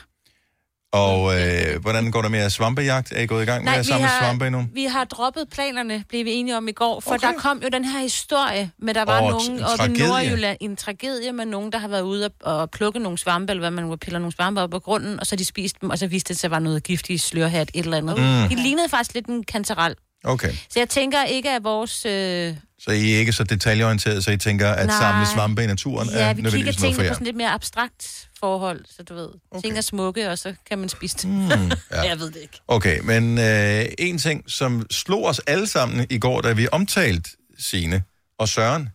[SPEAKER 1] Og øh, hvordan går det med jeres svampejagt? Er I gået i gang med at samle har... svampe endnu?
[SPEAKER 4] vi har droppet planerne, blev vi enige om i går, for okay. der kom jo den her historie med, der var
[SPEAKER 1] Åh,
[SPEAKER 4] oh,
[SPEAKER 1] t-
[SPEAKER 4] nogen
[SPEAKER 1] en
[SPEAKER 4] oppe i
[SPEAKER 1] tragedie.
[SPEAKER 4] Nordjylland, en tragedie med nogen, der har været ude og, og plukke nogle svampe, eller hvad man nu piller nogle svampe op på grunden, og så de spiste dem, og så viste det sig, at der var noget giftigt slørhat, et eller andet.
[SPEAKER 1] Mm.
[SPEAKER 4] Mm. De lignede faktisk lidt en kantarel.
[SPEAKER 1] Okay,
[SPEAKER 4] Så jeg tænker ikke, at vores... Øh,
[SPEAKER 1] så I er ikke så detaljeorienteret, så I tænker, at
[SPEAKER 4] Nej.
[SPEAKER 1] samle svampe i naturen
[SPEAKER 4] ja,
[SPEAKER 1] er
[SPEAKER 4] vi kigger
[SPEAKER 1] nødvendigvis noget
[SPEAKER 4] tingene
[SPEAKER 1] for
[SPEAKER 4] på
[SPEAKER 1] jer?
[SPEAKER 4] sådan lidt mere abstrakt forhold, så du ved. Okay. Ting er smukke, og så kan man spise det.
[SPEAKER 1] Mm, ja.
[SPEAKER 4] jeg ved det ikke.
[SPEAKER 1] Okay, men øh, en ting, som slog os alle sammen i går, da vi omtalte Sine og Søren,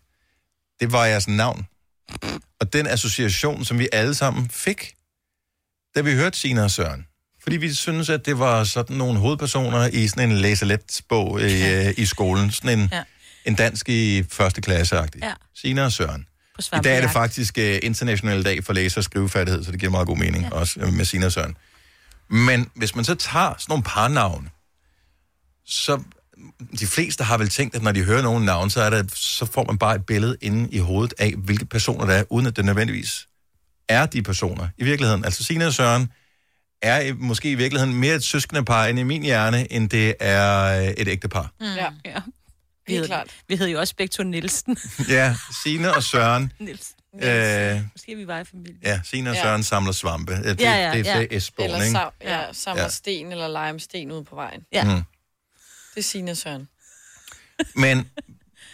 [SPEAKER 1] det var jeres navn. Og den association, som vi alle sammen fik, da vi hørte Sine og Søren. Fordi vi synes, at det var sådan nogle hovedpersoner i sådan en læseletbog i, øh, i skolen. Sådan en,
[SPEAKER 4] Ja.
[SPEAKER 1] ja. en dansk i første klasse -agtig.
[SPEAKER 4] Ja.
[SPEAKER 1] Sine og Søren.
[SPEAKER 4] På
[SPEAKER 1] I dag er det
[SPEAKER 4] svampejagt.
[SPEAKER 1] faktisk uh, international dag for læser- og skrivefærdighed, så det giver meget god mening, ja. også øh, med Sina og Søren. Men hvis man så tager sådan nogle parnavne, så mm, de fleste har vel tænkt, at når de hører nogle navne, så, er der, så får man bare et billede inde i hovedet af, hvilke personer der er, uden at det nødvendigvis er de personer i virkeligheden. Altså Sina og Søren er i- måske i virkeligheden mere et søskende par end i min hjerne, end det er øh, et ægte par.
[SPEAKER 4] Mm. Ja. ja. Vi Helt klart. Vi hed jo også begge to Nielsen.
[SPEAKER 1] Ja, Sina og Søren.
[SPEAKER 4] Nielsen.
[SPEAKER 1] Øh,
[SPEAKER 4] Måske vi var i familie.
[SPEAKER 1] Ja, Sina og
[SPEAKER 5] Ja.
[SPEAKER 1] Søren samler svampe. Ja, Det, det, det, det er Esbogen,
[SPEAKER 5] Eller
[SPEAKER 1] ikke?
[SPEAKER 5] sam, ja, samler
[SPEAKER 1] Ja.
[SPEAKER 5] ja. sten eller leger med sten ude på vejen.
[SPEAKER 1] Ja. Mm.
[SPEAKER 5] Det er Signe og Søren.
[SPEAKER 1] Men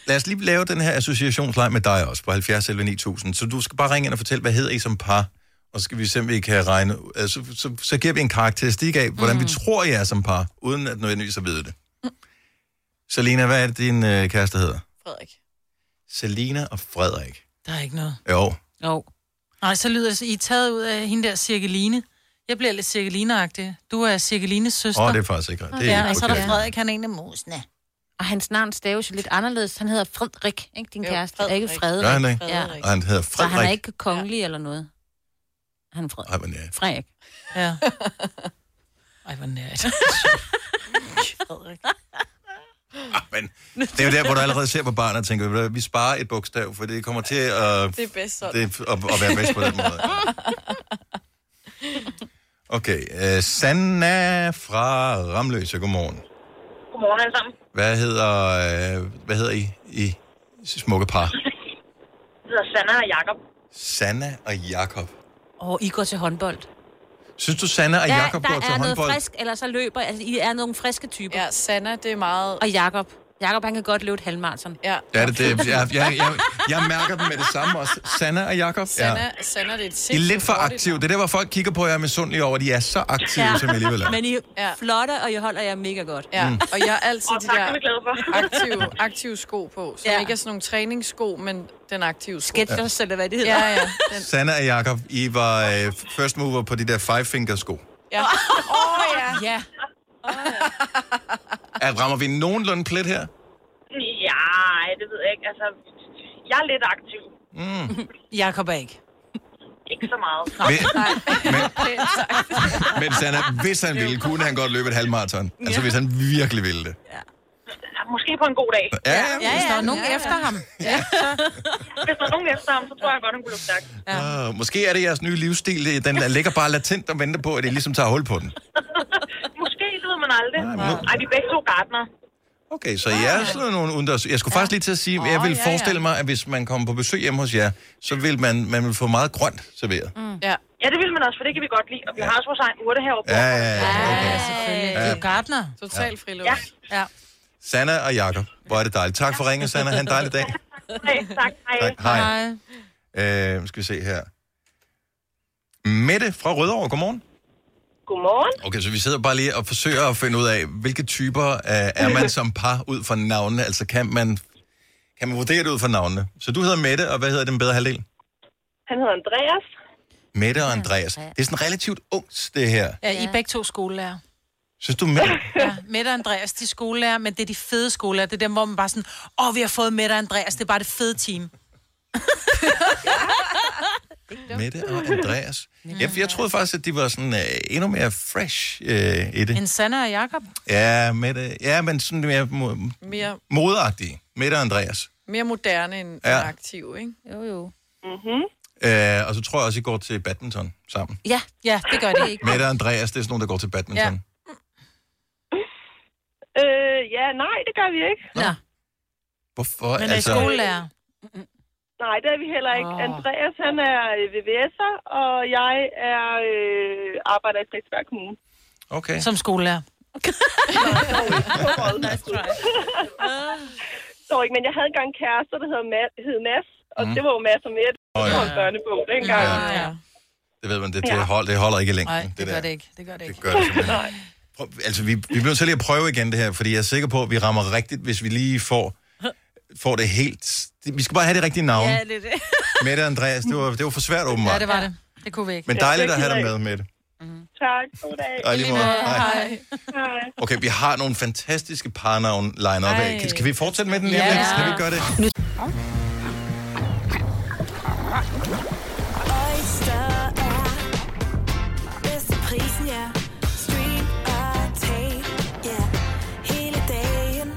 [SPEAKER 1] lad os lige lave den her associationsleg med dig også på 70 11 9000. Så du skal bare ringe ind og fortælle, hvad hedder I som par? Og så skal vi se, om vi kan regne... Altså, så, så, så giver vi en karakteristik af, hvordan mm. vi tror, I er som par, uden at nødvendigvis at vide det. Selina, hvad er det, din øh, kæreste hedder?
[SPEAKER 5] Frederik.
[SPEAKER 1] Selina og Frederik.
[SPEAKER 3] Der er ikke noget.
[SPEAKER 1] Jo.
[SPEAKER 4] Jo.
[SPEAKER 3] Nej, så lyder det, så I er taget ud af hende der Cirkeline. Jeg bliver lidt cirkeline Du er Cirkelines søster.
[SPEAKER 1] Åh, det er faktisk ikke rigtigt. Det er
[SPEAKER 3] ja,
[SPEAKER 1] ikke
[SPEAKER 3] og så er der
[SPEAKER 1] forkert.
[SPEAKER 3] Frederik, han er en af musene.
[SPEAKER 4] Og hans navn staves jo lidt anderledes. Han hedder Frederik, ikke din jo, kæreste? Frederik. Er ikke Frederik?
[SPEAKER 1] Gør han ikke?
[SPEAKER 4] Ja.
[SPEAKER 1] Og han hedder
[SPEAKER 4] Så han er
[SPEAKER 1] Frederik.
[SPEAKER 4] ikke kongelig ja. eller noget. Han er Frederik.
[SPEAKER 1] Ej, men ja.
[SPEAKER 4] Frederik.
[SPEAKER 3] Ja. Ej, hvor nært. Frederik.
[SPEAKER 1] Ah, Men det er jo der, hvor du allerede ser på barnet og tænker, ved du hvad, vi sparer et bogstav, for det kommer til at,
[SPEAKER 5] Det er bedst sådan.
[SPEAKER 1] det, at, at være bedst på den måde. Okay, uh, Sanna fra Ramløse, godmorgen.
[SPEAKER 20] Godmorgen alle sammen.
[SPEAKER 1] Hvad hedder, uh, hvad hedder I, I smukke par?
[SPEAKER 20] Jeg hedder Sanna og Jakob.
[SPEAKER 1] Sanna og Jakob.
[SPEAKER 4] Og I går til håndbold.
[SPEAKER 1] Synes du, Sanna og Jakob
[SPEAKER 4] der
[SPEAKER 1] går til
[SPEAKER 4] er noget
[SPEAKER 1] håndbold?
[SPEAKER 4] frisk, eller så løber. Altså, I er nogle friske typer.
[SPEAKER 5] Ja, Sanna, det er meget...
[SPEAKER 4] Og Jakob. Jakob, han kan godt løbe et halvmarathon.
[SPEAKER 5] Ja.
[SPEAKER 1] Ja, det, det, jeg, jeg, jeg, jeg mærker dem med det samme også. Sanna og Jakob.
[SPEAKER 5] Sanna, ja. Sanna det er et
[SPEAKER 1] I er
[SPEAKER 5] sindssygt
[SPEAKER 1] lidt for
[SPEAKER 5] hurtigt-
[SPEAKER 1] aktive. Det er der, hvor folk kigger på jer med sundhed over, at I er så aktive, som I alligevel er.
[SPEAKER 4] Men I er ja. flotte, og I holder jer mega godt.
[SPEAKER 5] Ja,
[SPEAKER 1] Mm.
[SPEAKER 5] og jeg har altid
[SPEAKER 4] Åh,
[SPEAKER 5] de
[SPEAKER 4] tak,
[SPEAKER 5] der
[SPEAKER 4] det er vi glade for.
[SPEAKER 5] aktive, aktive sko på, som ja. ikke er sådan nogle træningssko, men den aktive sko.
[SPEAKER 4] Skechers, eller hvad det hedder.
[SPEAKER 5] Ja, ja. Den,
[SPEAKER 1] Sanna og Jakob, I var øh, first mover på de der five finger sko.
[SPEAKER 5] ja. Åh, oh, ja.
[SPEAKER 4] ja.
[SPEAKER 1] Er, rammer vi nogenlunde plet her?
[SPEAKER 20] Ja, det ved jeg ikke. Altså, jeg er lidt aktiv.
[SPEAKER 1] Mm.
[SPEAKER 3] Jakob er ikke.
[SPEAKER 17] ikke så meget.
[SPEAKER 1] Men Sanna, hvis han ville, kunne han godt løbe et halvmarathon. Altså, hvis han virkelig ville det.
[SPEAKER 17] Måske på en god dag.
[SPEAKER 1] Ja, ja, Ja,
[SPEAKER 3] hvis der er nogen efter ham.
[SPEAKER 17] Ja. Hvis der er nogen efter ham, så tror jeg godt, han kunne løbe stærkt.
[SPEAKER 1] Ja. Uh, måske er det jeres nye livsstil, det- den der ligger bare latent og venter på, at I ligesom tager hul på den.
[SPEAKER 17] Måske, det ved man aldrig. Ej, vi er begge to gardner.
[SPEAKER 1] Okay, så jeg er sådan nogle udendørs... Jeg skulle faktisk lige til at sige, jeg
[SPEAKER 17] Åh,
[SPEAKER 1] vil
[SPEAKER 17] ja, ja.
[SPEAKER 1] forestille mig, at hvis man kommer på besøg hjemme hos jer, så vil man, man vil få meget grønt serveret.
[SPEAKER 17] Mm. Ja. ja, det vil man også, for det kan vi godt lide. Og vi har også vores egen urte heroppe.
[SPEAKER 1] Ja, ja, ja.
[SPEAKER 3] Ja, selvfølgelig.
[SPEAKER 1] Ja.
[SPEAKER 3] Ja. Du er gardner.
[SPEAKER 17] Total friluft. Ja. ja.
[SPEAKER 1] Sanna og Jakob, hvor er det dejligt. Tak for ringen, Sanna. Ha' en dejlig dag.
[SPEAKER 17] Hey, tak. Hej.
[SPEAKER 1] Tak. Hej. Uh, skal vi se her. Mette fra Rødovre, godmorgen.
[SPEAKER 20] Godmorgen.
[SPEAKER 1] Okay, så vi sidder bare lige og forsøger at finde ud af, hvilke typer uh, er man som par ud fra navnene? Altså, kan man, kan man vurdere det ud fra navnene? Så du hedder Mette, og hvad hedder den bedre halvdel?
[SPEAKER 20] Han hedder Andreas.
[SPEAKER 1] Mette og Andreas. Det er sådan relativt ungt, det her.
[SPEAKER 3] Ja, I er begge to skolelærer.
[SPEAKER 1] Synes du, Mette?
[SPEAKER 3] Ja, Mette og Andreas, de er skolelærer, men det er de fede skolelærer. Det er dem, hvor man bare sådan, åh, oh, vi har fået Mette og Andreas, det er bare det fede team.
[SPEAKER 1] Mette og Andreas. Jeg, jeg troede faktisk, at de var sådan uh, endnu mere fresh uh, i det.
[SPEAKER 3] En Sanna og Jakob.
[SPEAKER 1] Ja, Mette, ja, men sådan mere mo-
[SPEAKER 5] Mere,
[SPEAKER 1] modagtige. Mette og Andreas.
[SPEAKER 5] mere moderne end
[SPEAKER 1] Ja.
[SPEAKER 5] ja. aktiv, ikke?
[SPEAKER 4] Jo, jo.
[SPEAKER 5] Mm-hmm.
[SPEAKER 1] Uh, og så tror jeg også, I går til badminton sammen.
[SPEAKER 4] Ja,
[SPEAKER 3] ja, det gør det
[SPEAKER 4] ikke.
[SPEAKER 1] Mette og Andreas, det er sådan nogle, der går til badminton. Ja.
[SPEAKER 20] Øh, ja, nej, det gør vi ikke.
[SPEAKER 1] Nå. Hvorfor? Altså,
[SPEAKER 20] Men er I skolelærer? Nej, det er vi heller ikke.
[SPEAKER 1] Åh.
[SPEAKER 20] Oh. Andreas, han er øh, VVS'er, og jeg er øh, arbejder i Frederiksberg Kommune.
[SPEAKER 1] Okay.
[SPEAKER 3] Som skolelærer.
[SPEAKER 20] Så ikke, men jeg havde engang en kæreste, der hed, Ma- hed Mads, og
[SPEAKER 1] Mm.
[SPEAKER 20] mm. det var jo Mads og Mette.
[SPEAKER 1] Åh,
[SPEAKER 20] Oh, ja. Det
[SPEAKER 1] ja.
[SPEAKER 20] var en børnebog dengang.
[SPEAKER 1] Ja,
[SPEAKER 20] ja.
[SPEAKER 1] Det ved man, det,
[SPEAKER 20] Ja.
[SPEAKER 1] det, hold, det holder ikke i længden.
[SPEAKER 3] Nej, det, det
[SPEAKER 1] der.
[SPEAKER 3] gør det ikke. Det gør det ikke.
[SPEAKER 1] gør det simpelthen ikke. Prøv, altså, vi, vi bliver nødt til lige at prøve igen det her, fordi jeg er sikker på, at vi rammer rigtigt, hvis vi lige får, får det helt... Vi skal bare have det rigtige navn.
[SPEAKER 3] Ja,
[SPEAKER 1] Ja.
[SPEAKER 3] det er det.
[SPEAKER 1] Mette og Andreas, det var, det var for svært åbenbart.
[SPEAKER 3] Ja, det var det. Det kunne vi ikke.
[SPEAKER 1] Men dejligt at have dig med, Mette.
[SPEAKER 20] Tak, god dag.
[SPEAKER 1] Og i lige måde. Hej.
[SPEAKER 20] Hej.
[SPEAKER 1] Okay, vi har nogle fantastiske parnavn line op af.
[SPEAKER 20] Ej.
[SPEAKER 1] Kan, kan vi fortsætte med den lige om
[SPEAKER 20] Ja.
[SPEAKER 1] lidt? Kan vi gøre det?
[SPEAKER 12] Oyster er bedst til prisen, ja. Stream og tag, ja. Hele dagen.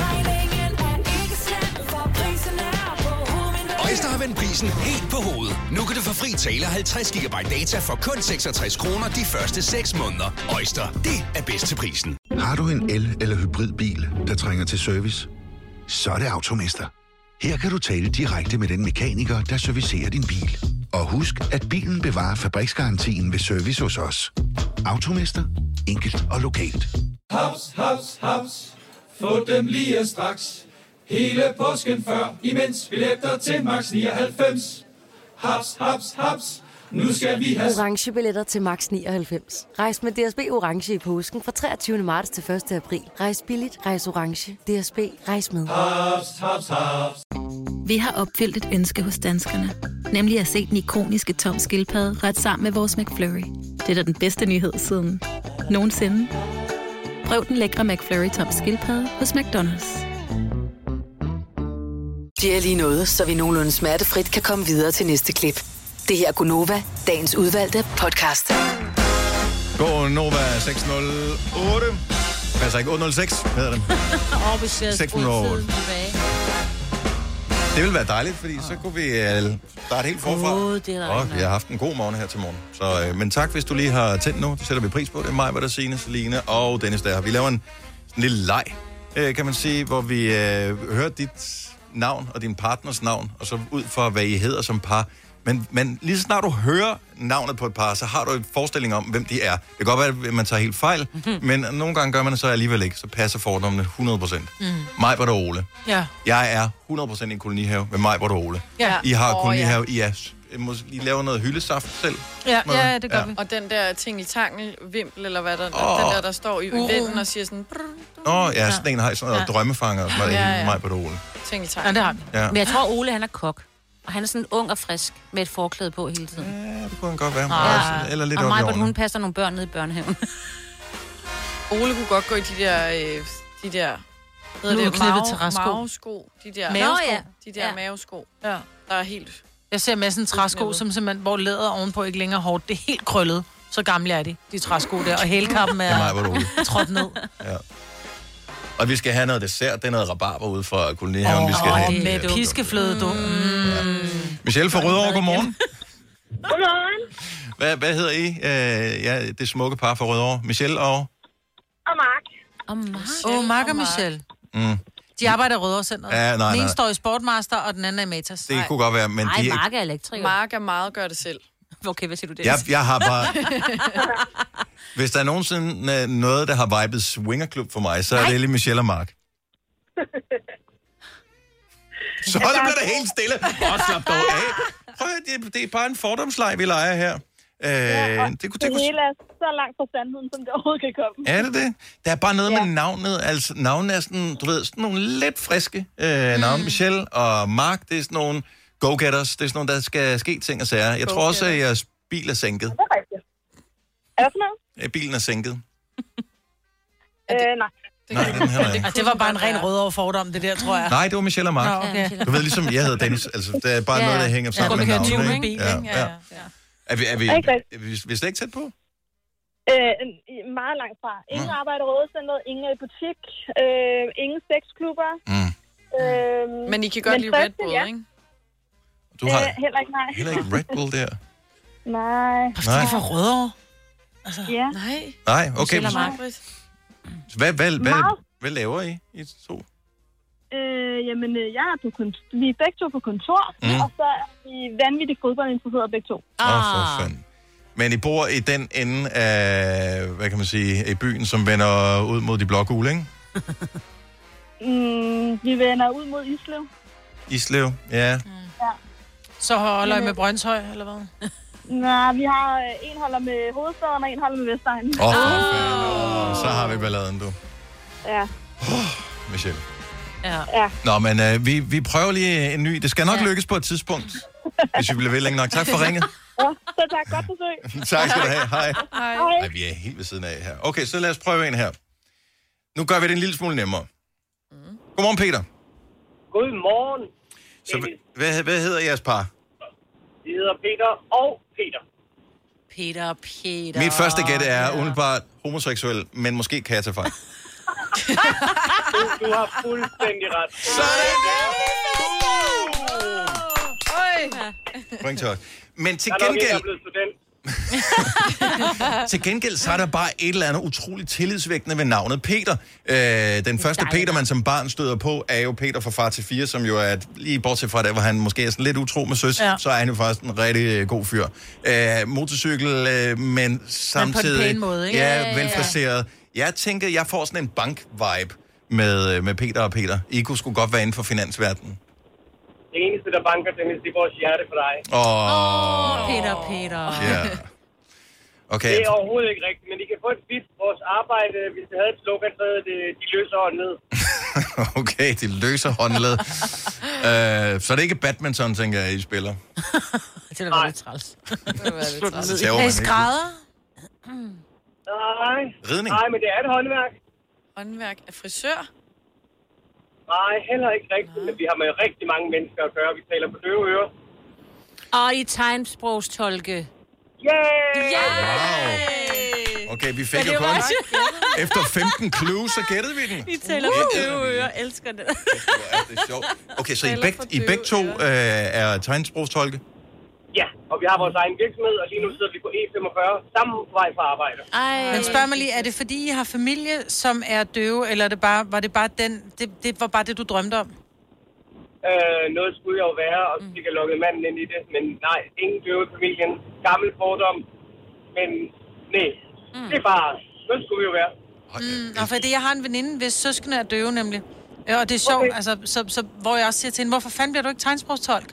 [SPEAKER 12] Regningen er ikke slem, for prisen er på hovedet.
[SPEAKER 13] Øjster har vendt prisen helt på hovedet. Nu kan du få fri tale 50 GB data for kun 66 kroner de første 6 måneder. Øjster, det er bedst til prisen.
[SPEAKER 14] Har du en el- eller hybridbil, der trænger til service? Så er det Automester. Her kan du tale direkte med den mekaniker, der servicerer din bil. Og husk, at bilen bevarer fabriksgarantien ved service hos os. Automester. Enkelt og lokalt.
[SPEAKER 15] Haps, haps, haps. Få dem lige straks. Hele påsken før, imens billetter til max 99. Haps, haps, haps. Nu skal vi have
[SPEAKER 22] orange billetter til max 99. Rejs med DSB orange i påsken fra 23. marts til 1. april. Rejs billigt, rejs orange. DSB rejs med.
[SPEAKER 15] haps, haps, haps.
[SPEAKER 23] Vi har opfyldt et ønske hos danskerne. Nemlig at se den ikoniske tom skildpadde ret sammen med vores McFlurry. Det er da den bedste nyhed siden nogensinde. Prøv den lækre McFlurry tom skildpadde hos McDonald's.
[SPEAKER 2] De er lige noget, så vi nogenlunde smertefrit kan komme videre til næste klip. Det her er Gunova, dagens udvalgte podcast.
[SPEAKER 1] Gå Nova 608. Altså ikke 806, hedder den.
[SPEAKER 4] Og vi ser
[SPEAKER 1] 608.
[SPEAKER 4] skoletiden tilbage.
[SPEAKER 1] Det ville være dejligt, fordi så kunne vi øh, starte helt forfra.
[SPEAKER 4] Åh, det er der
[SPEAKER 1] Og
[SPEAKER 4] ikke
[SPEAKER 1] vi har haft en god morgen her til morgen. Så, øh, men tak, hvis du lige har tændt nu. Det sætter vi pris på. Det er mig, hvor der Signe, Celine og Dennis der. Vi laver en, en lille leg, øh, kan man sige, hvor vi øh, hører dit navn og din partners navn, og så ud fra, hvad I hedder som par. Men, men lige så snart du hører navnet på et par, så har du en forestilling om, hvem de er. Det kan godt være, at man tager helt fejl, men nogle gange gør man det så alligevel ikke. Så passer fordommene 100%. Mm. Mig, hvor der Ole.
[SPEAKER 3] Ja.
[SPEAKER 1] Jeg er 100% i en kolonihave med mig, hvor du Ole.
[SPEAKER 5] Ja.
[SPEAKER 1] I har
[SPEAKER 5] Åh,
[SPEAKER 1] kolonihave, I, er, s- I må lige lave noget hyldesaft selv. Noget.
[SPEAKER 5] Og den der ting i tangel, vimpel eller hvad der,
[SPEAKER 1] Åh.
[SPEAKER 5] oh. den der, der står i
[SPEAKER 3] Uroen.
[SPEAKER 5] vinden og siger sådan, brr,
[SPEAKER 1] Nå, ja, sådan en har I sådan noget
[SPEAKER 4] Ja.
[SPEAKER 1] ja. drømmefanger, og sådan noget
[SPEAKER 4] Ja,
[SPEAKER 1] ja,
[SPEAKER 4] ja.
[SPEAKER 1] ja. mig, hvor du Ole.
[SPEAKER 5] ting i
[SPEAKER 4] Ja,
[SPEAKER 5] tangel.
[SPEAKER 4] det har han.
[SPEAKER 1] Ja.
[SPEAKER 4] Ja. Men jeg tror, Ole han er kok. Og han er sådan ung og frisk med et forklæde på hele tiden.
[SPEAKER 1] Ja, det kunne han godt være. Også- eller lidt
[SPEAKER 4] og
[SPEAKER 1] op i
[SPEAKER 4] mig,
[SPEAKER 1] årene.
[SPEAKER 4] hun passer nogle børn nede i børnehaven.
[SPEAKER 5] Ole kunne godt gå i de der, øh, de der,
[SPEAKER 4] Nu er du knyttet til
[SPEAKER 5] mave,
[SPEAKER 4] restsko.
[SPEAKER 5] mavesko, de der,
[SPEAKER 4] Mavesko.
[SPEAKER 5] de der
[SPEAKER 4] Ja.
[SPEAKER 5] mavesko, der er helt
[SPEAKER 3] Jeg ser massen træsko, som simpelthen, hvor læder ovenpå ikke længere er hårdt. Det er helt krøllet. Så gamle er de, de træsko der. Og hælkappen
[SPEAKER 1] Det er mig, hvor er
[SPEAKER 3] er
[SPEAKER 1] roligt.
[SPEAKER 3] trådt ned.
[SPEAKER 1] Ja. Og vi skal have noget dessert. Det er noget rabarber ude fra kolonihaven, oh, vi skal
[SPEAKER 3] Åh,
[SPEAKER 1] have. Mm.
[SPEAKER 3] med du. Piskefløde, du. Mm.
[SPEAKER 1] Michelle fra Rødovre, godmorgen.
[SPEAKER 21] Godmorgen.
[SPEAKER 1] Hvad, hvad hedder I? Øh, ja, det smukke par fra Rødovre. Michelle og...
[SPEAKER 21] Og Mark.
[SPEAKER 4] Og Mark.
[SPEAKER 3] Åh, oh, Mark og Michelle.
[SPEAKER 1] Mm,
[SPEAKER 3] De arbejder i Rødovre Center.
[SPEAKER 1] Ja, nej, nej,
[SPEAKER 3] Den ene
[SPEAKER 1] nej.
[SPEAKER 3] står i Sportmaster, og den anden er i Matas.
[SPEAKER 1] det kunne godt være, men
[SPEAKER 3] Ej,
[SPEAKER 1] de er ikke...
[SPEAKER 3] Mark
[SPEAKER 5] er elektriker. Mark er meget gør det selv.
[SPEAKER 4] Okay, hvad siger du det?
[SPEAKER 1] Jeg- jeg har bare- Hvis der er nogensinde øh, noget, der har vibet swingerklub for mig, så er det lige Michelle og Mark. Så der bliver der helt stille. Og slap dog af. Prøv at høre, det, det er bare en fordomsleg, vi leger her. Øh, det, kunne, det, kunne,
[SPEAKER 21] hele er så langt fra sandheden, som det overhovedet kan komme.
[SPEAKER 1] er det det? Der er bare noget med navnet. Altså, navnet er sådan, du ved, sådan nogle lidt friske øh, navne. Michelle og Mark, det er sådan nogle go-getters. Det er sådan nogle, der skal ske ting og sager. Jeg tror også, at jeres bil er sænket.
[SPEAKER 21] Det er rigtigt. Er der sådan noget?
[SPEAKER 1] Øh, Bilen er sænket.
[SPEAKER 21] Øh, nej.
[SPEAKER 1] Nej, den her er ikke.
[SPEAKER 3] Og Altså, det var bare en ren rød over fordom, det der, tror jeg.
[SPEAKER 1] Nej, det var Michelle og Mark.
[SPEAKER 3] Nå, okay.
[SPEAKER 1] Du ved, ligesom jeg hedder Dennis. Altså, der er bare
[SPEAKER 3] Ja,
[SPEAKER 1] noget, der
[SPEAKER 3] ja.
[SPEAKER 1] hænger
[SPEAKER 3] Ja.
[SPEAKER 1] sammen med
[SPEAKER 3] Godt, vi kører
[SPEAKER 1] navnet.
[SPEAKER 21] tuning,
[SPEAKER 1] Ja,
[SPEAKER 21] ikke? Ja,
[SPEAKER 1] ja. Er vi, er vi,
[SPEAKER 21] Ikke rigtigt.
[SPEAKER 1] er vi, vi er slet ikke tæt på?
[SPEAKER 21] Øh, en- meget langt fra. Ingen ja. arbejder i rådcenteret, ingen er i butik, øh, ingen sexklubber. Mm. Øh,
[SPEAKER 5] Men I kan godt lide Red Bull, ikke?
[SPEAKER 1] Du har
[SPEAKER 21] Øh, heller ikke nej.
[SPEAKER 1] heller ikke Red Bull der.
[SPEAKER 21] Nej.
[SPEAKER 1] Nej.
[SPEAKER 3] De er fra Rødovre.
[SPEAKER 21] Altså, ja. Nej.
[SPEAKER 1] Nej, okay. Hvad, hvad, hvad,
[SPEAKER 21] Meget.
[SPEAKER 1] hvad laver I, I to?
[SPEAKER 21] Øh, jamen, øh, jeg er på kont- vi er begge to på kontor,
[SPEAKER 1] Mm.
[SPEAKER 21] mm. og så er vi vanvittigt fodboldinteresserede begge to.
[SPEAKER 1] Åh, oh, for fanden. Men I bor i den ende af, hvad kan man sige, i byen, som vender ud mod de blågule, ikke?
[SPEAKER 21] Mm, vi vender ud mod Islev.
[SPEAKER 1] Islev, ja.
[SPEAKER 3] Så holder jeg med Brøndshøj, eller hvad?
[SPEAKER 21] Nej, vi har øh, en holder med hovedstaden, og en holder med Vestegnen.
[SPEAKER 1] Åh, oh, for fanden. Oh, så har vi balladen, du,
[SPEAKER 21] Ja.
[SPEAKER 1] Michelle.
[SPEAKER 21] Ja. ja.
[SPEAKER 1] Nå, men øh, vi, vi prøver lige en ny. Det skal nok ja. lykkes på et tidspunkt, hvis vi bliver ved længe nok. Tak for ringet.
[SPEAKER 21] Ja, så tak. Godt besøg.
[SPEAKER 1] tak skal du have. Hej.
[SPEAKER 21] Hej.
[SPEAKER 1] Ej, vi er helt ved siden af her. Okay, så lad os prøve en her. Nu gør vi det en lille smule nemmere. Godmorgen, Peter.
[SPEAKER 6] Godmorgen.
[SPEAKER 1] Så, hva- hvad, hvad hedder jeres par?
[SPEAKER 6] Vi hedder Peter og Peter.
[SPEAKER 4] Peter, Peter.
[SPEAKER 1] Mit første gæt er umiddelbart homoseksuel, men måske kan jeg tage fejl.
[SPEAKER 6] Du, du har fuldstændig ret.
[SPEAKER 1] Sådan
[SPEAKER 6] der!
[SPEAKER 1] Uh! Ring til os. Men til
[SPEAKER 6] Jeg er nok ikke er
[SPEAKER 1] gengæld,
[SPEAKER 6] blevet student.
[SPEAKER 1] til gengæld, så er der bare et eller andet utroligt tillidsvækkende ved navnet Peter. Øh, den første Peter, man som barn støder på, er jo Peter fra Far til Fire, som jo er, lige bortset fra det, hvor han måske er sådan lidt utro med søs, ja.
[SPEAKER 3] Ja.
[SPEAKER 1] så er han jo faktisk en rigtig øh, god fyr. Øh, motorcykel, øh, men samtidig...
[SPEAKER 3] pæne måde, ikke? Ja, ja,
[SPEAKER 1] Ja,
[SPEAKER 3] ja.
[SPEAKER 1] velfriseret. Jeg tænker, jeg får sådan en bank-vibe med, øh, med Peter og Peter. I kunne sgu godt være inden for finansverdenen.
[SPEAKER 6] Det eneste, der banker, Dennis, det er vores hjerte for dig.
[SPEAKER 1] Åh,
[SPEAKER 4] Peter, Peter.
[SPEAKER 1] ja. Okay.
[SPEAKER 6] Det er overhovedet ikke rigtigt, men I kan få et bit vores arbejde. Hvis det havde et slogan, så hedder det, de løser hånden ned.
[SPEAKER 1] Okay, de løser håndled. øh, så er det ikke badminton, tænker jeg, I spiller.
[SPEAKER 4] Det ville være lidt træls.
[SPEAKER 1] Slut træls. ned.
[SPEAKER 4] Er I skrædder?
[SPEAKER 6] Nej.
[SPEAKER 1] Ridning.
[SPEAKER 6] Nej, men det er et håndværk.
[SPEAKER 5] Håndværk af frisør.
[SPEAKER 6] Nej, heller ikke rigtigt, men vi har med rigtig mange mennesker at gøre. Vi taler på døve ører.
[SPEAKER 4] Og i tegnsprogstolke.
[SPEAKER 6] Yay!
[SPEAKER 1] Wow. Okay, vi fik
[SPEAKER 4] Ja,
[SPEAKER 1] jo
[SPEAKER 4] det
[SPEAKER 1] kun...
[SPEAKER 4] var
[SPEAKER 1] Efter 15 clues, så gættede vi den.
[SPEAKER 4] I taler
[SPEAKER 1] Woo!
[SPEAKER 4] med døve ører. Elsker det.
[SPEAKER 1] Det er sjovt. Okay, så I
[SPEAKER 6] Taler
[SPEAKER 1] begge,
[SPEAKER 6] for
[SPEAKER 1] I
[SPEAKER 6] døve
[SPEAKER 1] begge to øh, er tegnsprogstolke?
[SPEAKER 6] Ja, og vi har vores egen virksomhed, og lige nu sidder vi på E45 sammen på vej fra arbejde.
[SPEAKER 4] Ej.
[SPEAKER 3] Men spørg mig lige, er det fordi, I har familie, som er døve, eller er det bare, var det bare den, det, det var bare det, du drømte om?
[SPEAKER 6] Øh, noget skulle jeg jo være, og så fik jeg lukket manden ind i det. Men nej, ingen døve i familien. Gammel fordom. Men nej, mm. det er bare, noget skulle vi jo være.
[SPEAKER 3] Mm, nå, for det, jeg har en veninde, hvis søskende er døve nemlig. Ja, og det er sjovt, okay. altså, så, så, hvor jeg også siger til hende, hvorfor fanden bliver du ikke tegnsprogstolk?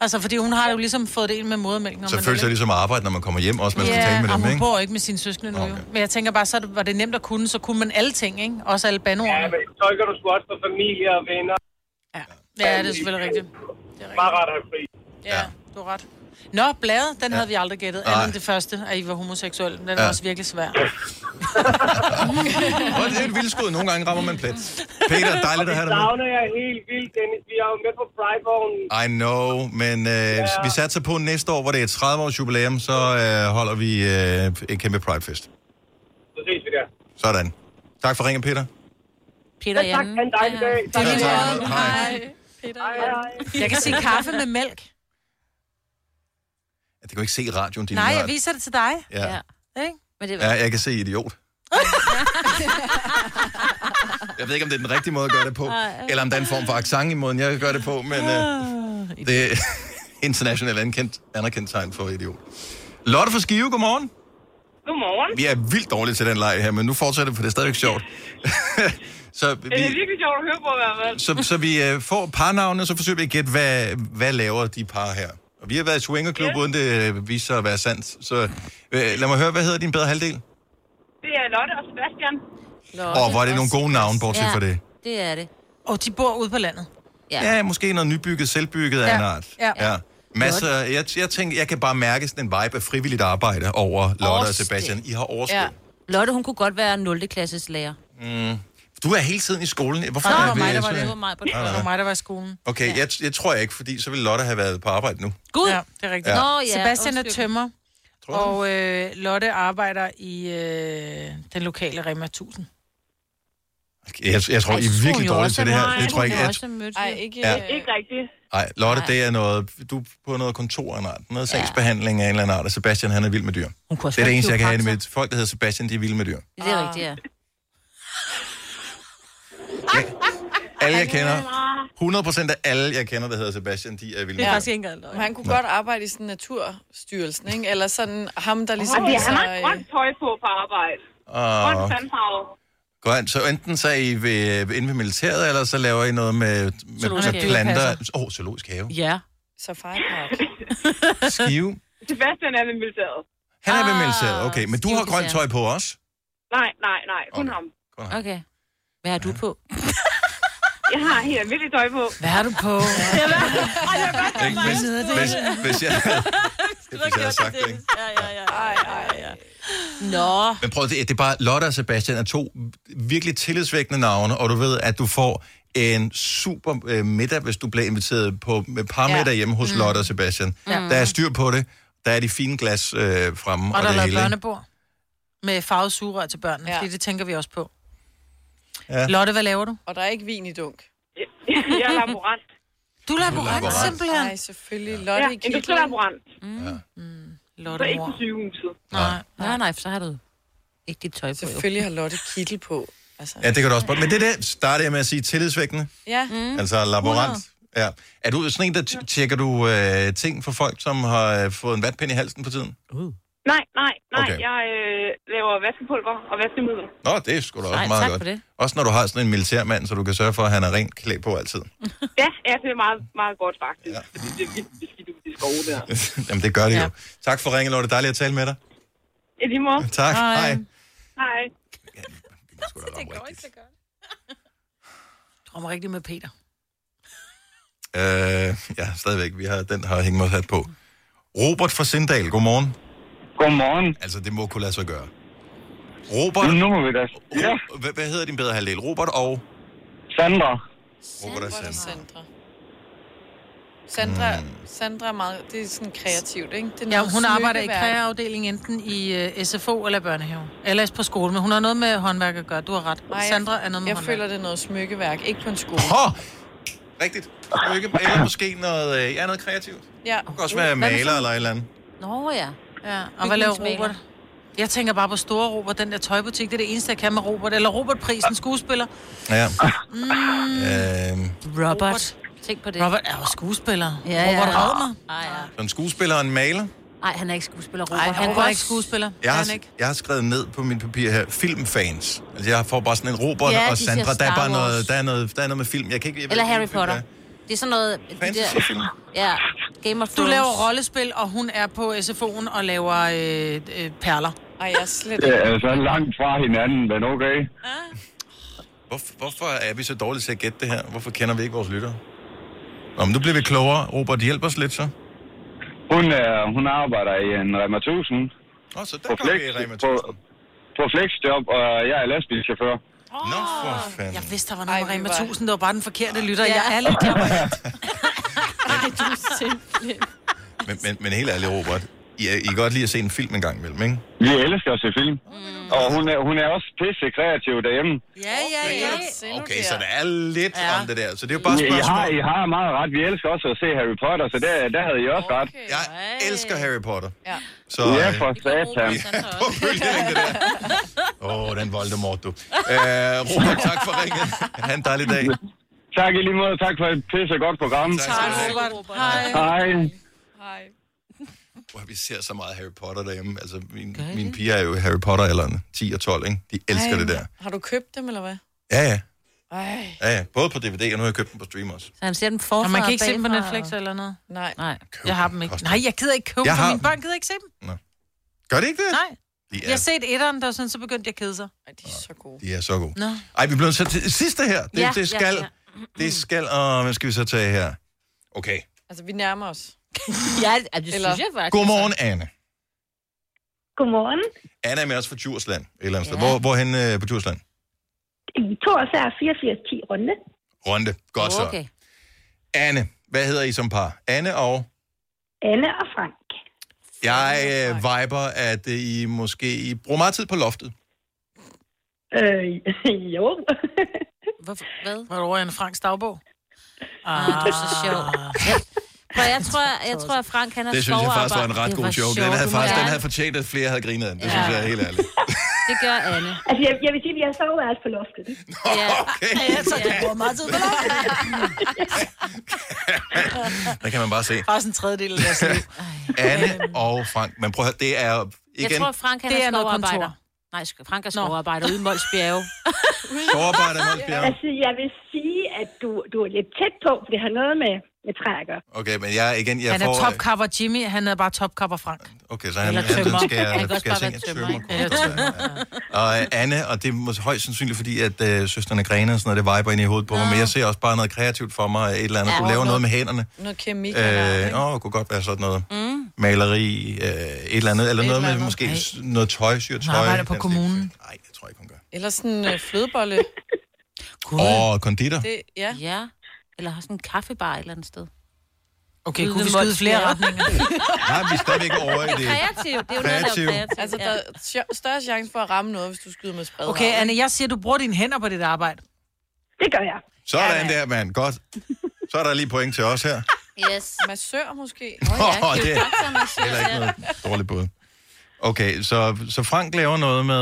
[SPEAKER 3] Altså, fordi hun har jo ligesom fået det ind med modermælken. om man
[SPEAKER 1] Selvfølgelig så er
[SPEAKER 3] vil,
[SPEAKER 1] det
[SPEAKER 3] ikke?
[SPEAKER 1] som at arbejde, når man kommer hjem også, man skal tale med
[SPEAKER 3] og
[SPEAKER 1] dem,
[SPEAKER 3] hun
[SPEAKER 1] ikke?
[SPEAKER 3] bor ikke med sine søskende nu. Okay. Men jeg tænker bare, så var det nemt at kunne, så kunne man alle ting, ikke? Også alle bandordene.
[SPEAKER 6] Ja, men så tolker du sgu også for familie og venner.
[SPEAKER 3] Ja, det er selvfølgelig rigtigt.
[SPEAKER 6] Bare ret og fri.
[SPEAKER 3] Ja, du har ret. Nå, bladet, den ja. havde vi aldrig gættet. Andet
[SPEAKER 1] Nej.
[SPEAKER 3] end det første, at I var homoseksuelle. Den ja.
[SPEAKER 1] Ja.
[SPEAKER 3] var også virkelig svær.
[SPEAKER 1] Og det er et vildskud. Nogle gange rammer man plet. Peter, dejligt at have dig med.
[SPEAKER 6] savner jeg helt vildt, Dennis. Vi er jo med på Pridevognen.
[SPEAKER 1] I know, men øh, ja. vi satser på næste år, hvor det er 30 års jubilæum, så øh, holder vi øh, en kæmpe Pridefest.
[SPEAKER 6] Så ses vi der.
[SPEAKER 1] Sådan. Tak for ringen, Peter.
[SPEAKER 4] Peter
[SPEAKER 6] ja, tak. Ha' en dejlig dag.
[SPEAKER 1] Tak, tak. Hej.
[SPEAKER 3] Peter,
[SPEAKER 6] hej.
[SPEAKER 3] Jeg kan sige kaffe med mælk.
[SPEAKER 1] Det kan jo ikke se i radioen, din
[SPEAKER 3] Nej,
[SPEAKER 1] lille
[SPEAKER 3] jeg
[SPEAKER 1] ret.
[SPEAKER 3] viser det til dig.
[SPEAKER 1] Ja. Ja.
[SPEAKER 3] Ikke? Men det
[SPEAKER 1] Ja, jeg kan se idiot. Jeg ved ikke, om det er den rigtige måde at gøre det på,
[SPEAKER 3] Ej.
[SPEAKER 1] eller om der er en form for accent i måden, jeg gør det på, men øh,
[SPEAKER 3] Ah,
[SPEAKER 1] det er internationalt anerkendt, anerkendt tegn for idiot. Lotte fra Skive, godmorgen.
[SPEAKER 8] Godmorgen.
[SPEAKER 1] Vi er vildt dårlige til den leg her, men nu fortsætter vi, for det er stadigvæk sjovt. så,
[SPEAKER 8] Ja, det er
[SPEAKER 1] vi,
[SPEAKER 8] virkelig sjovt at høre på i hvert fald.
[SPEAKER 1] så, så vi øh, får parnavne, og så forsøger vi at gætte, hvad, hvad laver de par her. Og vi har været i swingerklub, uden det øh, viser sig at være sandt. Så øh, lad mig høre, hvad hedder din bedre halvdel?
[SPEAKER 8] Det er Lotte og Sebastian.
[SPEAKER 1] Åh, oh, hvor er det nogle gode navne, bortset ja.
[SPEAKER 8] Ja.
[SPEAKER 1] fra det.
[SPEAKER 4] Det er det.
[SPEAKER 3] Og de bor ude på landet.
[SPEAKER 1] Ja, ja måske noget nybygget, selvbygget af
[SPEAKER 3] Ja.
[SPEAKER 1] en art.
[SPEAKER 3] Ja.
[SPEAKER 1] Masser, jeg, jeg tænker, jeg kan bare mærke sådan en vibe af frivilligt arbejde over Lotte og Sebastian. I har overskud. Ja.
[SPEAKER 4] Lotte, hun kunne godt være 0. klasses lærer.
[SPEAKER 1] Mm. Du er hele tiden i skolen. Hvorfor
[SPEAKER 3] Nej,
[SPEAKER 1] er
[SPEAKER 3] det var
[SPEAKER 1] vi-
[SPEAKER 3] mig, der var
[SPEAKER 1] sådan-
[SPEAKER 3] det. Det var mig,
[SPEAKER 1] Ah,
[SPEAKER 3] det var mig, der var i skolen.
[SPEAKER 1] Okay, jeg, jeg tror jeg ikke, fordi så ville Lotte have været på arbejde nu.
[SPEAKER 4] Gud!
[SPEAKER 3] Ja, det er rigtigt.
[SPEAKER 1] Ja. Nå,
[SPEAKER 4] ja,
[SPEAKER 3] Sebastian er
[SPEAKER 4] undskyld.
[SPEAKER 3] tømmer,
[SPEAKER 1] Tror du?
[SPEAKER 3] og øh, Lotte arbejder i øh, den lokale Rema 1000.
[SPEAKER 1] Jeg, jeg tror,
[SPEAKER 3] Ej,
[SPEAKER 1] I er virkelig
[SPEAKER 3] skulle jo
[SPEAKER 1] dårlige
[SPEAKER 3] også
[SPEAKER 1] til det her.
[SPEAKER 3] have
[SPEAKER 1] Det tror jeg ikke. Jeg,
[SPEAKER 8] Ej, ikke,
[SPEAKER 1] Ja.
[SPEAKER 5] øh,
[SPEAKER 8] ikke rigtigt.
[SPEAKER 1] nej, Lotte, det er noget... Du er på noget kontor af en art. Noget sagsbehandling af en eller anden art, og Sebastian, han er vild med dyr. Det er
[SPEAKER 8] også
[SPEAKER 1] det
[SPEAKER 8] være
[SPEAKER 1] eneste, jeg kan have det med.
[SPEAKER 8] kiropraktor.
[SPEAKER 1] Folk, der hedder Sebastian, de er vilde med dyr.
[SPEAKER 4] Det er rigtigt, ja.
[SPEAKER 1] Alle, jeg kender... 100% af alle, jeg kender, der hedder Sebastian, de er vilde med
[SPEAKER 5] ikke
[SPEAKER 1] dyr.
[SPEAKER 5] engang Han kunne godt arbejde i sådan Naturstyrelsen, ikke? Eller sådan ham, der ligesom...
[SPEAKER 8] Ligesom, oh, ja, han har
[SPEAKER 5] øh,
[SPEAKER 8] et grønt tøj på på arbejde. Grønt
[SPEAKER 1] Og...
[SPEAKER 8] sandfarve.
[SPEAKER 1] Godt, så enten så er I ved, inde ved militæret, eller så laver I noget med, med,
[SPEAKER 8] Zoologisk
[SPEAKER 1] med
[SPEAKER 8] have.
[SPEAKER 1] planter.
[SPEAKER 8] Dyrepasser.
[SPEAKER 1] Åh, oh, zoologisk have.
[SPEAKER 4] Ja.
[SPEAKER 5] Safari Park.
[SPEAKER 1] Skive.
[SPEAKER 8] Sebastian er ved militæret.
[SPEAKER 1] Han er ved militæret, okay. Men du har grønt tøj på også.
[SPEAKER 8] Nej, nej, nej. Kun ham.
[SPEAKER 4] Okay. Hvad har du på?
[SPEAKER 8] Jeg har helt almindeligt tøj på.
[SPEAKER 3] Hvad har du på?
[SPEAKER 8] Ja, hvad? Ej, jeg har godt tøj på.
[SPEAKER 1] Hvis, hvis, hvis, jeg, hvis jeg havde sagt det, ikke?
[SPEAKER 8] Ja, ja, ja. Ej, ej, ja.
[SPEAKER 5] Øh,
[SPEAKER 4] Nå.
[SPEAKER 1] Men prøv, det, det er bare, Lotte og Sebastian er to virkelig tillidsvækkende navne, og du ved, at du får en super øh, middag, hvis du bliver inviteret på med parmiddag
[SPEAKER 3] Ja.
[SPEAKER 1] hjemme hos
[SPEAKER 3] Mm.
[SPEAKER 1] Lotte og Sebastian.
[SPEAKER 3] Ja.
[SPEAKER 1] Der er styr på det, der er de fine glas øh, fremme og,
[SPEAKER 3] Og der er
[SPEAKER 1] det
[SPEAKER 3] lavet
[SPEAKER 1] hele. ikke?
[SPEAKER 3] børnebord med farvet sugerør til børnene, ja. fordi det tænker vi også på.
[SPEAKER 1] Ja.
[SPEAKER 3] Lotte, hvad laver du?
[SPEAKER 5] Og der er ikke vin i dunk.
[SPEAKER 8] Jeg er laborant.
[SPEAKER 3] Du er laborant,
[SPEAKER 1] laborant.
[SPEAKER 3] simpelthen.
[SPEAKER 5] Nej, selvfølgelig. Lotte
[SPEAKER 8] ja,
[SPEAKER 5] i kitlen.
[SPEAKER 8] industrilaborant.
[SPEAKER 3] Lotte,
[SPEAKER 8] Så ikke
[SPEAKER 3] mor.
[SPEAKER 8] på sygehuset.
[SPEAKER 3] Nej.
[SPEAKER 4] Nej, nej, for så har du ikke dit tøj på.
[SPEAKER 5] Selvfølgelig har Lotte kittel på. Altså.
[SPEAKER 1] Ja, det kan du også. Men det der starter jeg med at sige tillidsvækkende.
[SPEAKER 5] Ja. Mm.
[SPEAKER 1] Altså laborant. Ja. Er du sådan en, der t- tjekker du øh, ting for folk, som har øh, fået en vatpind i halsen på tiden? Uh.
[SPEAKER 8] Nej, nej, nej.
[SPEAKER 1] Okay.
[SPEAKER 8] Jeg øh, laver vaskepulver og vaskemiddel.
[SPEAKER 1] Nå, det er sgu da også
[SPEAKER 8] Nej,
[SPEAKER 1] meget
[SPEAKER 8] tak
[SPEAKER 1] godt.
[SPEAKER 8] for det.
[SPEAKER 1] Også når du har sådan en militærmand, så du kan sørge for, at han er rent klædt på altid.
[SPEAKER 8] Ja, ja, det er meget, meget godt faktisk. Ja. Fordi det er virkelig beskidt ud i skove der.
[SPEAKER 1] Jamen, det gør det ja. jo. Tak for ringen, Lotte. Dejligt at tale med dig.
[SPEAKER 8] I lige måde.
[SPEAKER 1] Tak. Hej. Hej.
[SPEAKER 8] Hej.
[SPEAKER 1] det
[SPEAKER 8] går ikke så godt.
[SPEAKER 3] Drømmer rigtig med Peter.
[SPEAKER 1] Øh, ja, stadigvæk. Vi har, den har hængt mig hat på. Robert fra Sindal, godmorgen. Godmorgen. Altså, det må kunne lade sig gøre. Robert... Nu må vi da. Ja. Hvad, hvad hedder din bedre halvdel? Robert og... Sandra. Robert og Sandra.
[SPEAKER 5] Sandra. Sandra,
[SPEAKER 1] Mm.
[SPEAKER 5] Sandra er meget, det er sådan kreativt, ikke? Det er
[SPEAKER 3] Ja,
[SPEAKER 5] noget
[SPEAKER 3] hun arbejder i
[SPEAKER 5] smykkeværk.
[SPEAKER 3] kreafdelingen enten i uh, SFO eller børnehave. Eller på skole, men hun har noget med håndværk at gøre. Du har ret.
[SPEAKER 5] Nej,
[SPEAKER 3] Nej, Sandra er noget med
[SPEAKER 5] jeg
[SPEAKER 3] håndværk.
[SPEAKER 5] føler, det er noget smykkeværk. Ikke på en skole.
[SPEAKER 1] Åh! Rigtigt. Lykke. Eller måske noget, øh, ja, noget kreativt. Det
[SPEAKER 5] Ja.
[SPEAKER 1] kan også være maler eller et eller andet.
[SPEAKER 4] Nå ja.
[SPEAKER 3] ja. Og hvad laver
[SPEAKER 4] Bygningsmaler.
[SPEAKER 3] Robert? Jeg tænker bare på store Robert, den der tøjbutik. Det er det eneste, jeg kan med Robert. Eller Robert Prisen, skuespiller.
[SPEAKER 1] Ja.
[SPEAKER 3] Mm.
[SPEAKER 1] Øh,
[SPEAKER 3] Robert. Tænk på det. Robert er jo skuespiller.
[SPEAKER 4] Ja, ja.
[SPEAKER 3] Robert Ravner.
[SPEAKER 1] så en skuespiller og en maler.
[SPEAKER 4] Nej, han er ikke skuespiller, Robert.
[SPEAKER 3] Ej,
[SPEAKER 4] han
[SPEAKER 3] Robert
[SPEAKER 4] går
[SPEAKER 3] er
[SPEAKER 4] ikke
[SPEAKER 3] ikke skuespiller.
[SPEAKER 1] Jeg
[SPEAKER 3] Er
[SPEAKER 1] har,
[SPEAKER 3] han ikke?
[SPEAKER 1] jeg har skrevet ned på min papir her, filmfans. Altså, jeg får bare sådan en Robert
[SPEAKER 4] Ja,
[SPEAKER 1] ja,
[SPEAKER 4] de
[SPEAKER 1] og
[SPEAKER 4] siger
[SPEAKER 1] Sandra. Der
[SPEAKER 4] Star
[SPEAKER 1] er bare
[SPEAKER 4] Wars.
[SPEAKER 1] noget, der er noget, der er noget med film. Jeg kan ikke... Jeg ved
[SPEAKER 4] Eller
[SPEAKER 1] ikke,
[SPEAKER 4] Harry
[SPEAKER 1] hvad film
[SPEAKER 4] Potter.
[SPEAKER 1] det
[SPEAKER 4] Det er sådan noget... De
[SPEAKER 1] Fantasyfilm.
[SPEAKER 4] der, ja, Game of
[SPEAKER 3] Du
[SPEAKER 4] Thrones.
[SPEAKER 3] laver rollespil, og hun er på SFO'en og laver øh, øh, perler.
[SPEAKER 5] Ej, jeg er slet
[SPEAKER 10] Det er så Altså, langt fra hinanden, men okay.
[SPEAKER 1] er. Hvorfor, hvorfor er vi så dårlige til at gætte det her? Hvorfor kender vi ikke vores lyttere? Nå, men nu bliver vi klogere. Robert, hjælp os lidt så.
[SPEAKER 10] Hun, er, hun arbejder i en Rema 1000.
[SPEAKER 1] Åh, så
[SPEAKER 10] på,
[SPEAKER 1] der går vi i Rema 1000.
[SPEAKER 10] på, på flexjob, og jeg er lastbilchauffør.
[SPEAKER 1] Nå, for fanden.
[SPEAKER 3] Jeg vidste, der var noget med
[SPEAKER 5] Ej, vi
[SPEAKER 3] Rema
[SPEAKER 5] var-
[SPEAKER 3] 1000, der var bare den forkerte lytter.
[SPEAKER 5] Ja.
[SPEAKER 3] Ja. Jeg er lidt klar.
[SPEAKER 5] Ej, du er simpelthen...
[SPEAKER 1] Men, men, men helt ærligt, Robert, I, I kan godt lide at se en film en gang imellem, ikke?
[SPEAKER 10] Vi elsker at se film. Og hun er, hun er også pisse kreativ derhjemme.
[SPEAKER 4] Ja, ja, ja.
[SPEAKER 1] Okay, så der er lidt ja. om det der. Så det er jo bare
[SPEAKER 10] I,
[SPEAKER 1] et
[SPEAKER 10] I, har,
[SPEAKER 1] spørgsmål.
[SPEAKER 10] I har meget ret. Vi elsker også at se Harry Potter, så der, der havde I også ret.
[SPEAKER 1] Jeg elsker Harry Potter.
[SPEAKER 5] Ja.
[SPEAKER 1] Så,
[SPEAKER 10] ja,
[SPEAKER 1] øh,
[SPEAKER 10] for satan.
[SPEAKER 1] Åh, oh, den Voldemort, du. Æ, Robert, tak for ringen. Ha' en dejlig dag.
[SPEAKER 10] Tak i lige måde. Tak for et pisse godt program.
[SPEAKER 1] Tak,
[SPEAKER 3] Robert. Hej.
[SPEAKER 10] Hej.
[SPEAKER 1] Hvor vi ser så meget Harry Potter derhjemme. Altså, min, mine piger er jo i Harry Potter alderen 10 og 12, ikke? De elsker
[SPEAKER 5] Ej,
[SPEAKER 1] det der.
[SPEAKER 5] Har du købt dem, eller hvad?
[SPEAKER 1] Ja, ja.
[SPEAKER 5] Ej.
[SPEAKER 1] ja, ja. Både på DVD, og nu har jeg købt dem på stream også.
[SPEAKER 4] Så han ser dem forfra
[SPEAKER 3] Og man kan ikke se
[SPEAKER 4] og
[SPEAKER 3] dem på
[SPEAKER 4] bagfra,
[SPEAKER 3] Netflix eller noget?
[SPEAKER 5] Nej.
[SPEAKER 4] Nej.
[SPEAKER 3] Jeg har dem ikke. Nej, jeg gider ikke købe
[SPEAKER 1] Jeg
[SPEAKER 3] dem, for
[SPEAKER 1] har
[SPEAKER 3] mine børn gider ikke se dem.
[SPEAKER 1] Gør det ikke det?
[SPEAKER 3] Nej.
[SPEAKER 1] De
[SPEAKER 3] Jeg
[SPEAKER 1] er,
[SPEAKER 3] har set etteren, der sådan, så begyndte jeg at kede sig.
[SPEAKER 5] Ej, de er så gode.
[SPEAKER 1] de er så gode.
[SPEAKER 3] Nå.
[SPEAKER 1] Ej, vi blev så til sidste her. Det,
[SPEAKER 3] Ja,
[SPEAKER 1] ja, det
[SPEAKER 3] ja,
[SPEAKER 1] skal... Ja,
[SPEAKER 3] ja.
[SPEAKER 1] ja. Det skal... Åh, hvad skal vi så tage her? Okay.
[SPEAKER 5] Altså, vi nærmer os.
[SPEAKER 4] ja, det synes jeg faktisk.
[SPEAKER 1] Godmorgen, Anne.
[SPEAKER 20] Godmorgen.
[SPEAKER 1] Anna er med os fra Djursland. Et eller andet ja. sted. Hvor, hvorhen øh, på Djursland?
[SPEAKER 20] 82 84 10 runde.
[SPEAKER 1] Rønte. Godt så.
[SPEAKER 20] Okay.
[SPEAKER 1] Anne, hvad hedder I som par? Anne og...
[SPEAKER 20] Anne og Frank.
[SPEAKER 1] Jeg øh, viber, at øh, I måske I bruger meget tid på loftet.
[SPEAKER 20] Øh, jo.
[SPEAKER 4] Hvorfor? Hvad?
[SPEAKER 3] Var du over i en Franks dagbog?
[SPEAKER 4] Ah, det er så sjovt. Ja. Prøv, jeg tror, jeg tror, at Frank han har
[SPEAKER 1] det synes jeg faktisk var en
[SPEAKER 4] skovarbejde.
[SPEAKER 1] ret
[SPEAKER 4] Det
[SPEAKER 1] god joke. Den
[SPEAKER 4] sjovt.
[SPEAKER 1] havde,
[SPEAKER 4] Du
[SPEAKER 1] faktisk,
[SPEAKER 4] må
[SPEAKER 1] den
[SPEAKER 4] gerne-
[SPEAKER 1] havde fortjent, at flere havde grinet af den. Det
[SPEAKER 4] Ja.
[SPEAKER 1] synes jeg er helt ærligt.
[SPEAKER 4] Det gør Anne.
[SPEAKER 20] Altså, jeg, jeg vil sige, at vi har soveværelse på loftet.
[SPEAKER 4] Ja.
[SPEAKER 1] Okay.
[SPEAKER 3] Ja, så du bruger meget tid på det.
[SPEAKER 1] Der kan man bare se.
[SPEAKER 3] Bare sådan en tredjedel af deres liv.
[SPEAKER 1] Anne og Frank. Men prøv at høre, det er
[SPEAKER 4] Øhm. Jeg
[SPEAKER 1] igen
[SPEAKER 4] tror, Frank han
[SPEAKER 3] Det
[SPEAKER 4] er
[SPEAKER 3] er noget
[SPEAKER 4] skovarbejder.
[SPEAKER 3] kontor.
[SPEAKER 4] Nej, sk- Frank er skovarbejder ude i Mols Bjerge.
[SPEAKER 1] sårbart af Mols
[SPEAKER 20] Altså, jeg vil sige, at du, du er lidt tæt på, for det har noget med, med træ at gøre.
[SPEAKER 1] Okay, men jeg, igen, jeg
[SPEAKER 3] Han
[SPEAKER 1] får... øh,
[SPEAKER 3] er topcover Jimmy, han er bare topcover Frank.
[SPEAKER 1] Okay, så han,
[SPEAKER 3] Eller
[SPEAKER 1] han, han
[SPEAKER 3] tømmer.
[SPEAKER 1] skal,
[SPEAKER 3] Han kan
[SPEAKER 1] jeg,
[SPEAKER 3] også
[SPEAKER 1] skal jeg
[SPEAKER 3] bare
[SPEAKER 1] se
[SPEAKER 3] være
[SPEAKER 1] et
[SPEAKER 3] tømmer,
[SPEAKER 1] tømmerkort.
[SPEAKER 3] ikke?
[SPEAKER 1] Og øh, Anne, og det er måske højst sandsynligt, fordi at øh, søsterne grene og sådan noget, det viber ind i hovedet på mig, men jeg ser også bare noget kreativt for mig, et eller andet,
[SPEAKER 5] Ja,
[SPEAKER 1] kunne lave
[SPEAKER 5] noget-
[SPEAKER 1] noget med hænderne.
[SPEAKER 5] Noget keramik. eller-
[SPEAKER 1] Øh, åh, kunne godt være sådan noget.
[SPEAKER 5] Mm.
[SPEAKER 1] Maleri, øh, et eller andet, eller
[SPEAKER 5] Et
[SPEAKER 1] noget
[SPEAKER 5] eller
[SPEAKER 1] med
[SPEAKER 5] andet.
[SPEAKER 1] måske
[SPEAKER 5] Ej.
[SPEAKER 1] s- noget tøj, syr
[SPEAKER 3] Han
[SPEAKER 1] tøj.
[SPEAKER 3] arbejder på kommunen.
[SPEAKER 5] Eller sådan en øh, flødebolle.
[SPEAKER 1] Og konditor.
[SPEAKER 5] Det, ja.
[SPEAKER 4] ja. Eller har sådan en kaffebar et eller andet sted.
[SPEAKER 3] Okay,
[SPEAKER 4] Ude
[SPEAKER 3] kunne vi
[SPEAKER 4] ved
[SPEAKER 3] skyde
[SPEAKER 4] Mols
[SPEAKER 3] flere
[SPEAKER 4] Bjerge.
[SPEAKER 3] retninger?
[SPEAKER 1] Nej, vi er stadigvæk over i det.
[SPEAKER 4] Kreativt. Det er jo noget, der er
[SPEAKER 1] Kreativt.
[SPEAKER 4] kreativt.
[SPEAKER 5] Altså, der er sjo- større chance for at ramme noget, hvis du skyder med spredhavl.
[SPEAKER 3] Okay, Anne, jeg siger, du bruger dine hænder på dit arbejde.
[SPEAKER 20] Det gør jeg.
[SPEAKER 1] Sådan der, mand. Godt. Så er der lige point til os her.
[SPEAKER 4] Yes.
[SPEAKER 5] Massør måske.
[SPEAKER 1] Åh, ja, det er jo
[SPEAKER 4] doktormassør.
[SPEAKER 1] Heller ikke noget dårligt bud. Okay, så, så Frank laver noget med...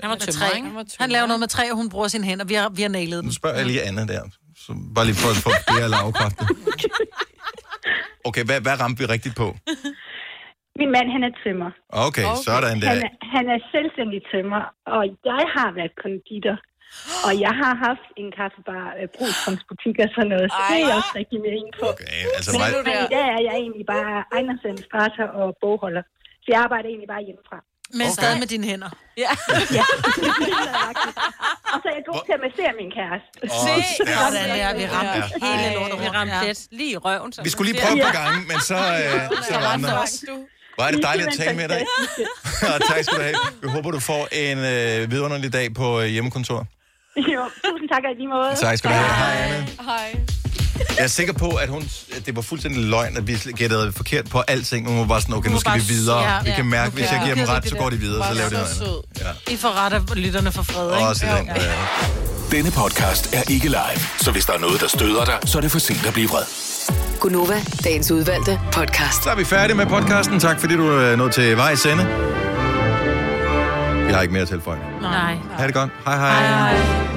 [SPEAKER 3] Han var tømmer, ikke? Han laver noget med træ, og hun bruger sine hænder. Vi har, vi har nailet dem.
[SPEAKER 1] Nu spørger jeg lige Anna der. Så bare lige for at få flere lavkræfter. Okay, hvad, hvad ramte vi rigtigt på?
[SPEAKER 20] Min mand, han er tømmer.
[SPEAKER 1] Okay, okay. sådan
[SPEAKER 20] Han,
[SPEAKER 1] der.
[SPEAKER 20] er, han er selvstændig tømmer, og jeg har været konditor. Og jeg har haft en kaffebar, øh, brugsfondsbutik og sådan noget, så det er jeg også rigtig med ind på. Okay,
[SPEAKER 1] altså
[SPEAKER 20] men,
[SPEAKER 1] mig-
[SPEAKER 20] men i dag er jeg egentlig bare ejendomsadministrator og bogholder. Så jeg arbejder egentlig bare hjemmefra.
[SPEAKER 3] Men okay. stadig med dine hænder.
[SPEAKER 20] Ja. ja. og så er jeg god til at massere min kæreste.
[SPEAKER 1] Åh, stærkt.
[SPEAKER 3] Sådan der, vi ramte
[SPEAKER 1] Ja.
[SPEAKER 3] hele
[SPEAKER 1] Ja.
[SPEAKER 3] lortet.
[SPEAKER 4] Vi ramte plet lige i røven. som
[SPEAKER 1] Vi
[SPEAKER 4] man
[SPEAKER 1] skulle lige
[SPEAKER 4] siger.
[SPEAKER 1] prøve et par gange, men så, øh, så ramte Var det dejligt at tale med dig. Og tak skal du have. Vi håber, du får en øh, vidunderlig dag på øh, hjemmekontor.
[SPEAKER 20] Jo, tusind tak og i lige måde.
[SPEAKER 1] Tak skal du have. Hej, Anna.
[SPEAKER 20] Hej.
[SPEAKER 1] Jeg er sikker på, at, hun, at det var fuldstændig løgn, at vi gættede forkert på alting. Nu var bare sådan, okay, nu skal vi videre. Vi kan mærke, hvis jeg giver dem ret, så går de videre, så laver de noget andet.
[SPEAKER 3] I får ret af lytterne for fred, ikke?
[SPEAKER 1] Også den, ja.
[SPEAKER 13] Denne podcast er ikke live, så hvis der er noget, der støder dig, så er det for sent at blive vred.
[SPEAKER 2] Gunova, dagens udvalgte podcast.
[SPEAKER 1] Så er vi færdige med podcasten. Tak fordi du øh, nåede til vej sende. Jeg har ikke mere at tilføje.
[SPEAKER 4] Nej.
[SPEAKER 1] Ha' det godt. Hej hej. hej, hej.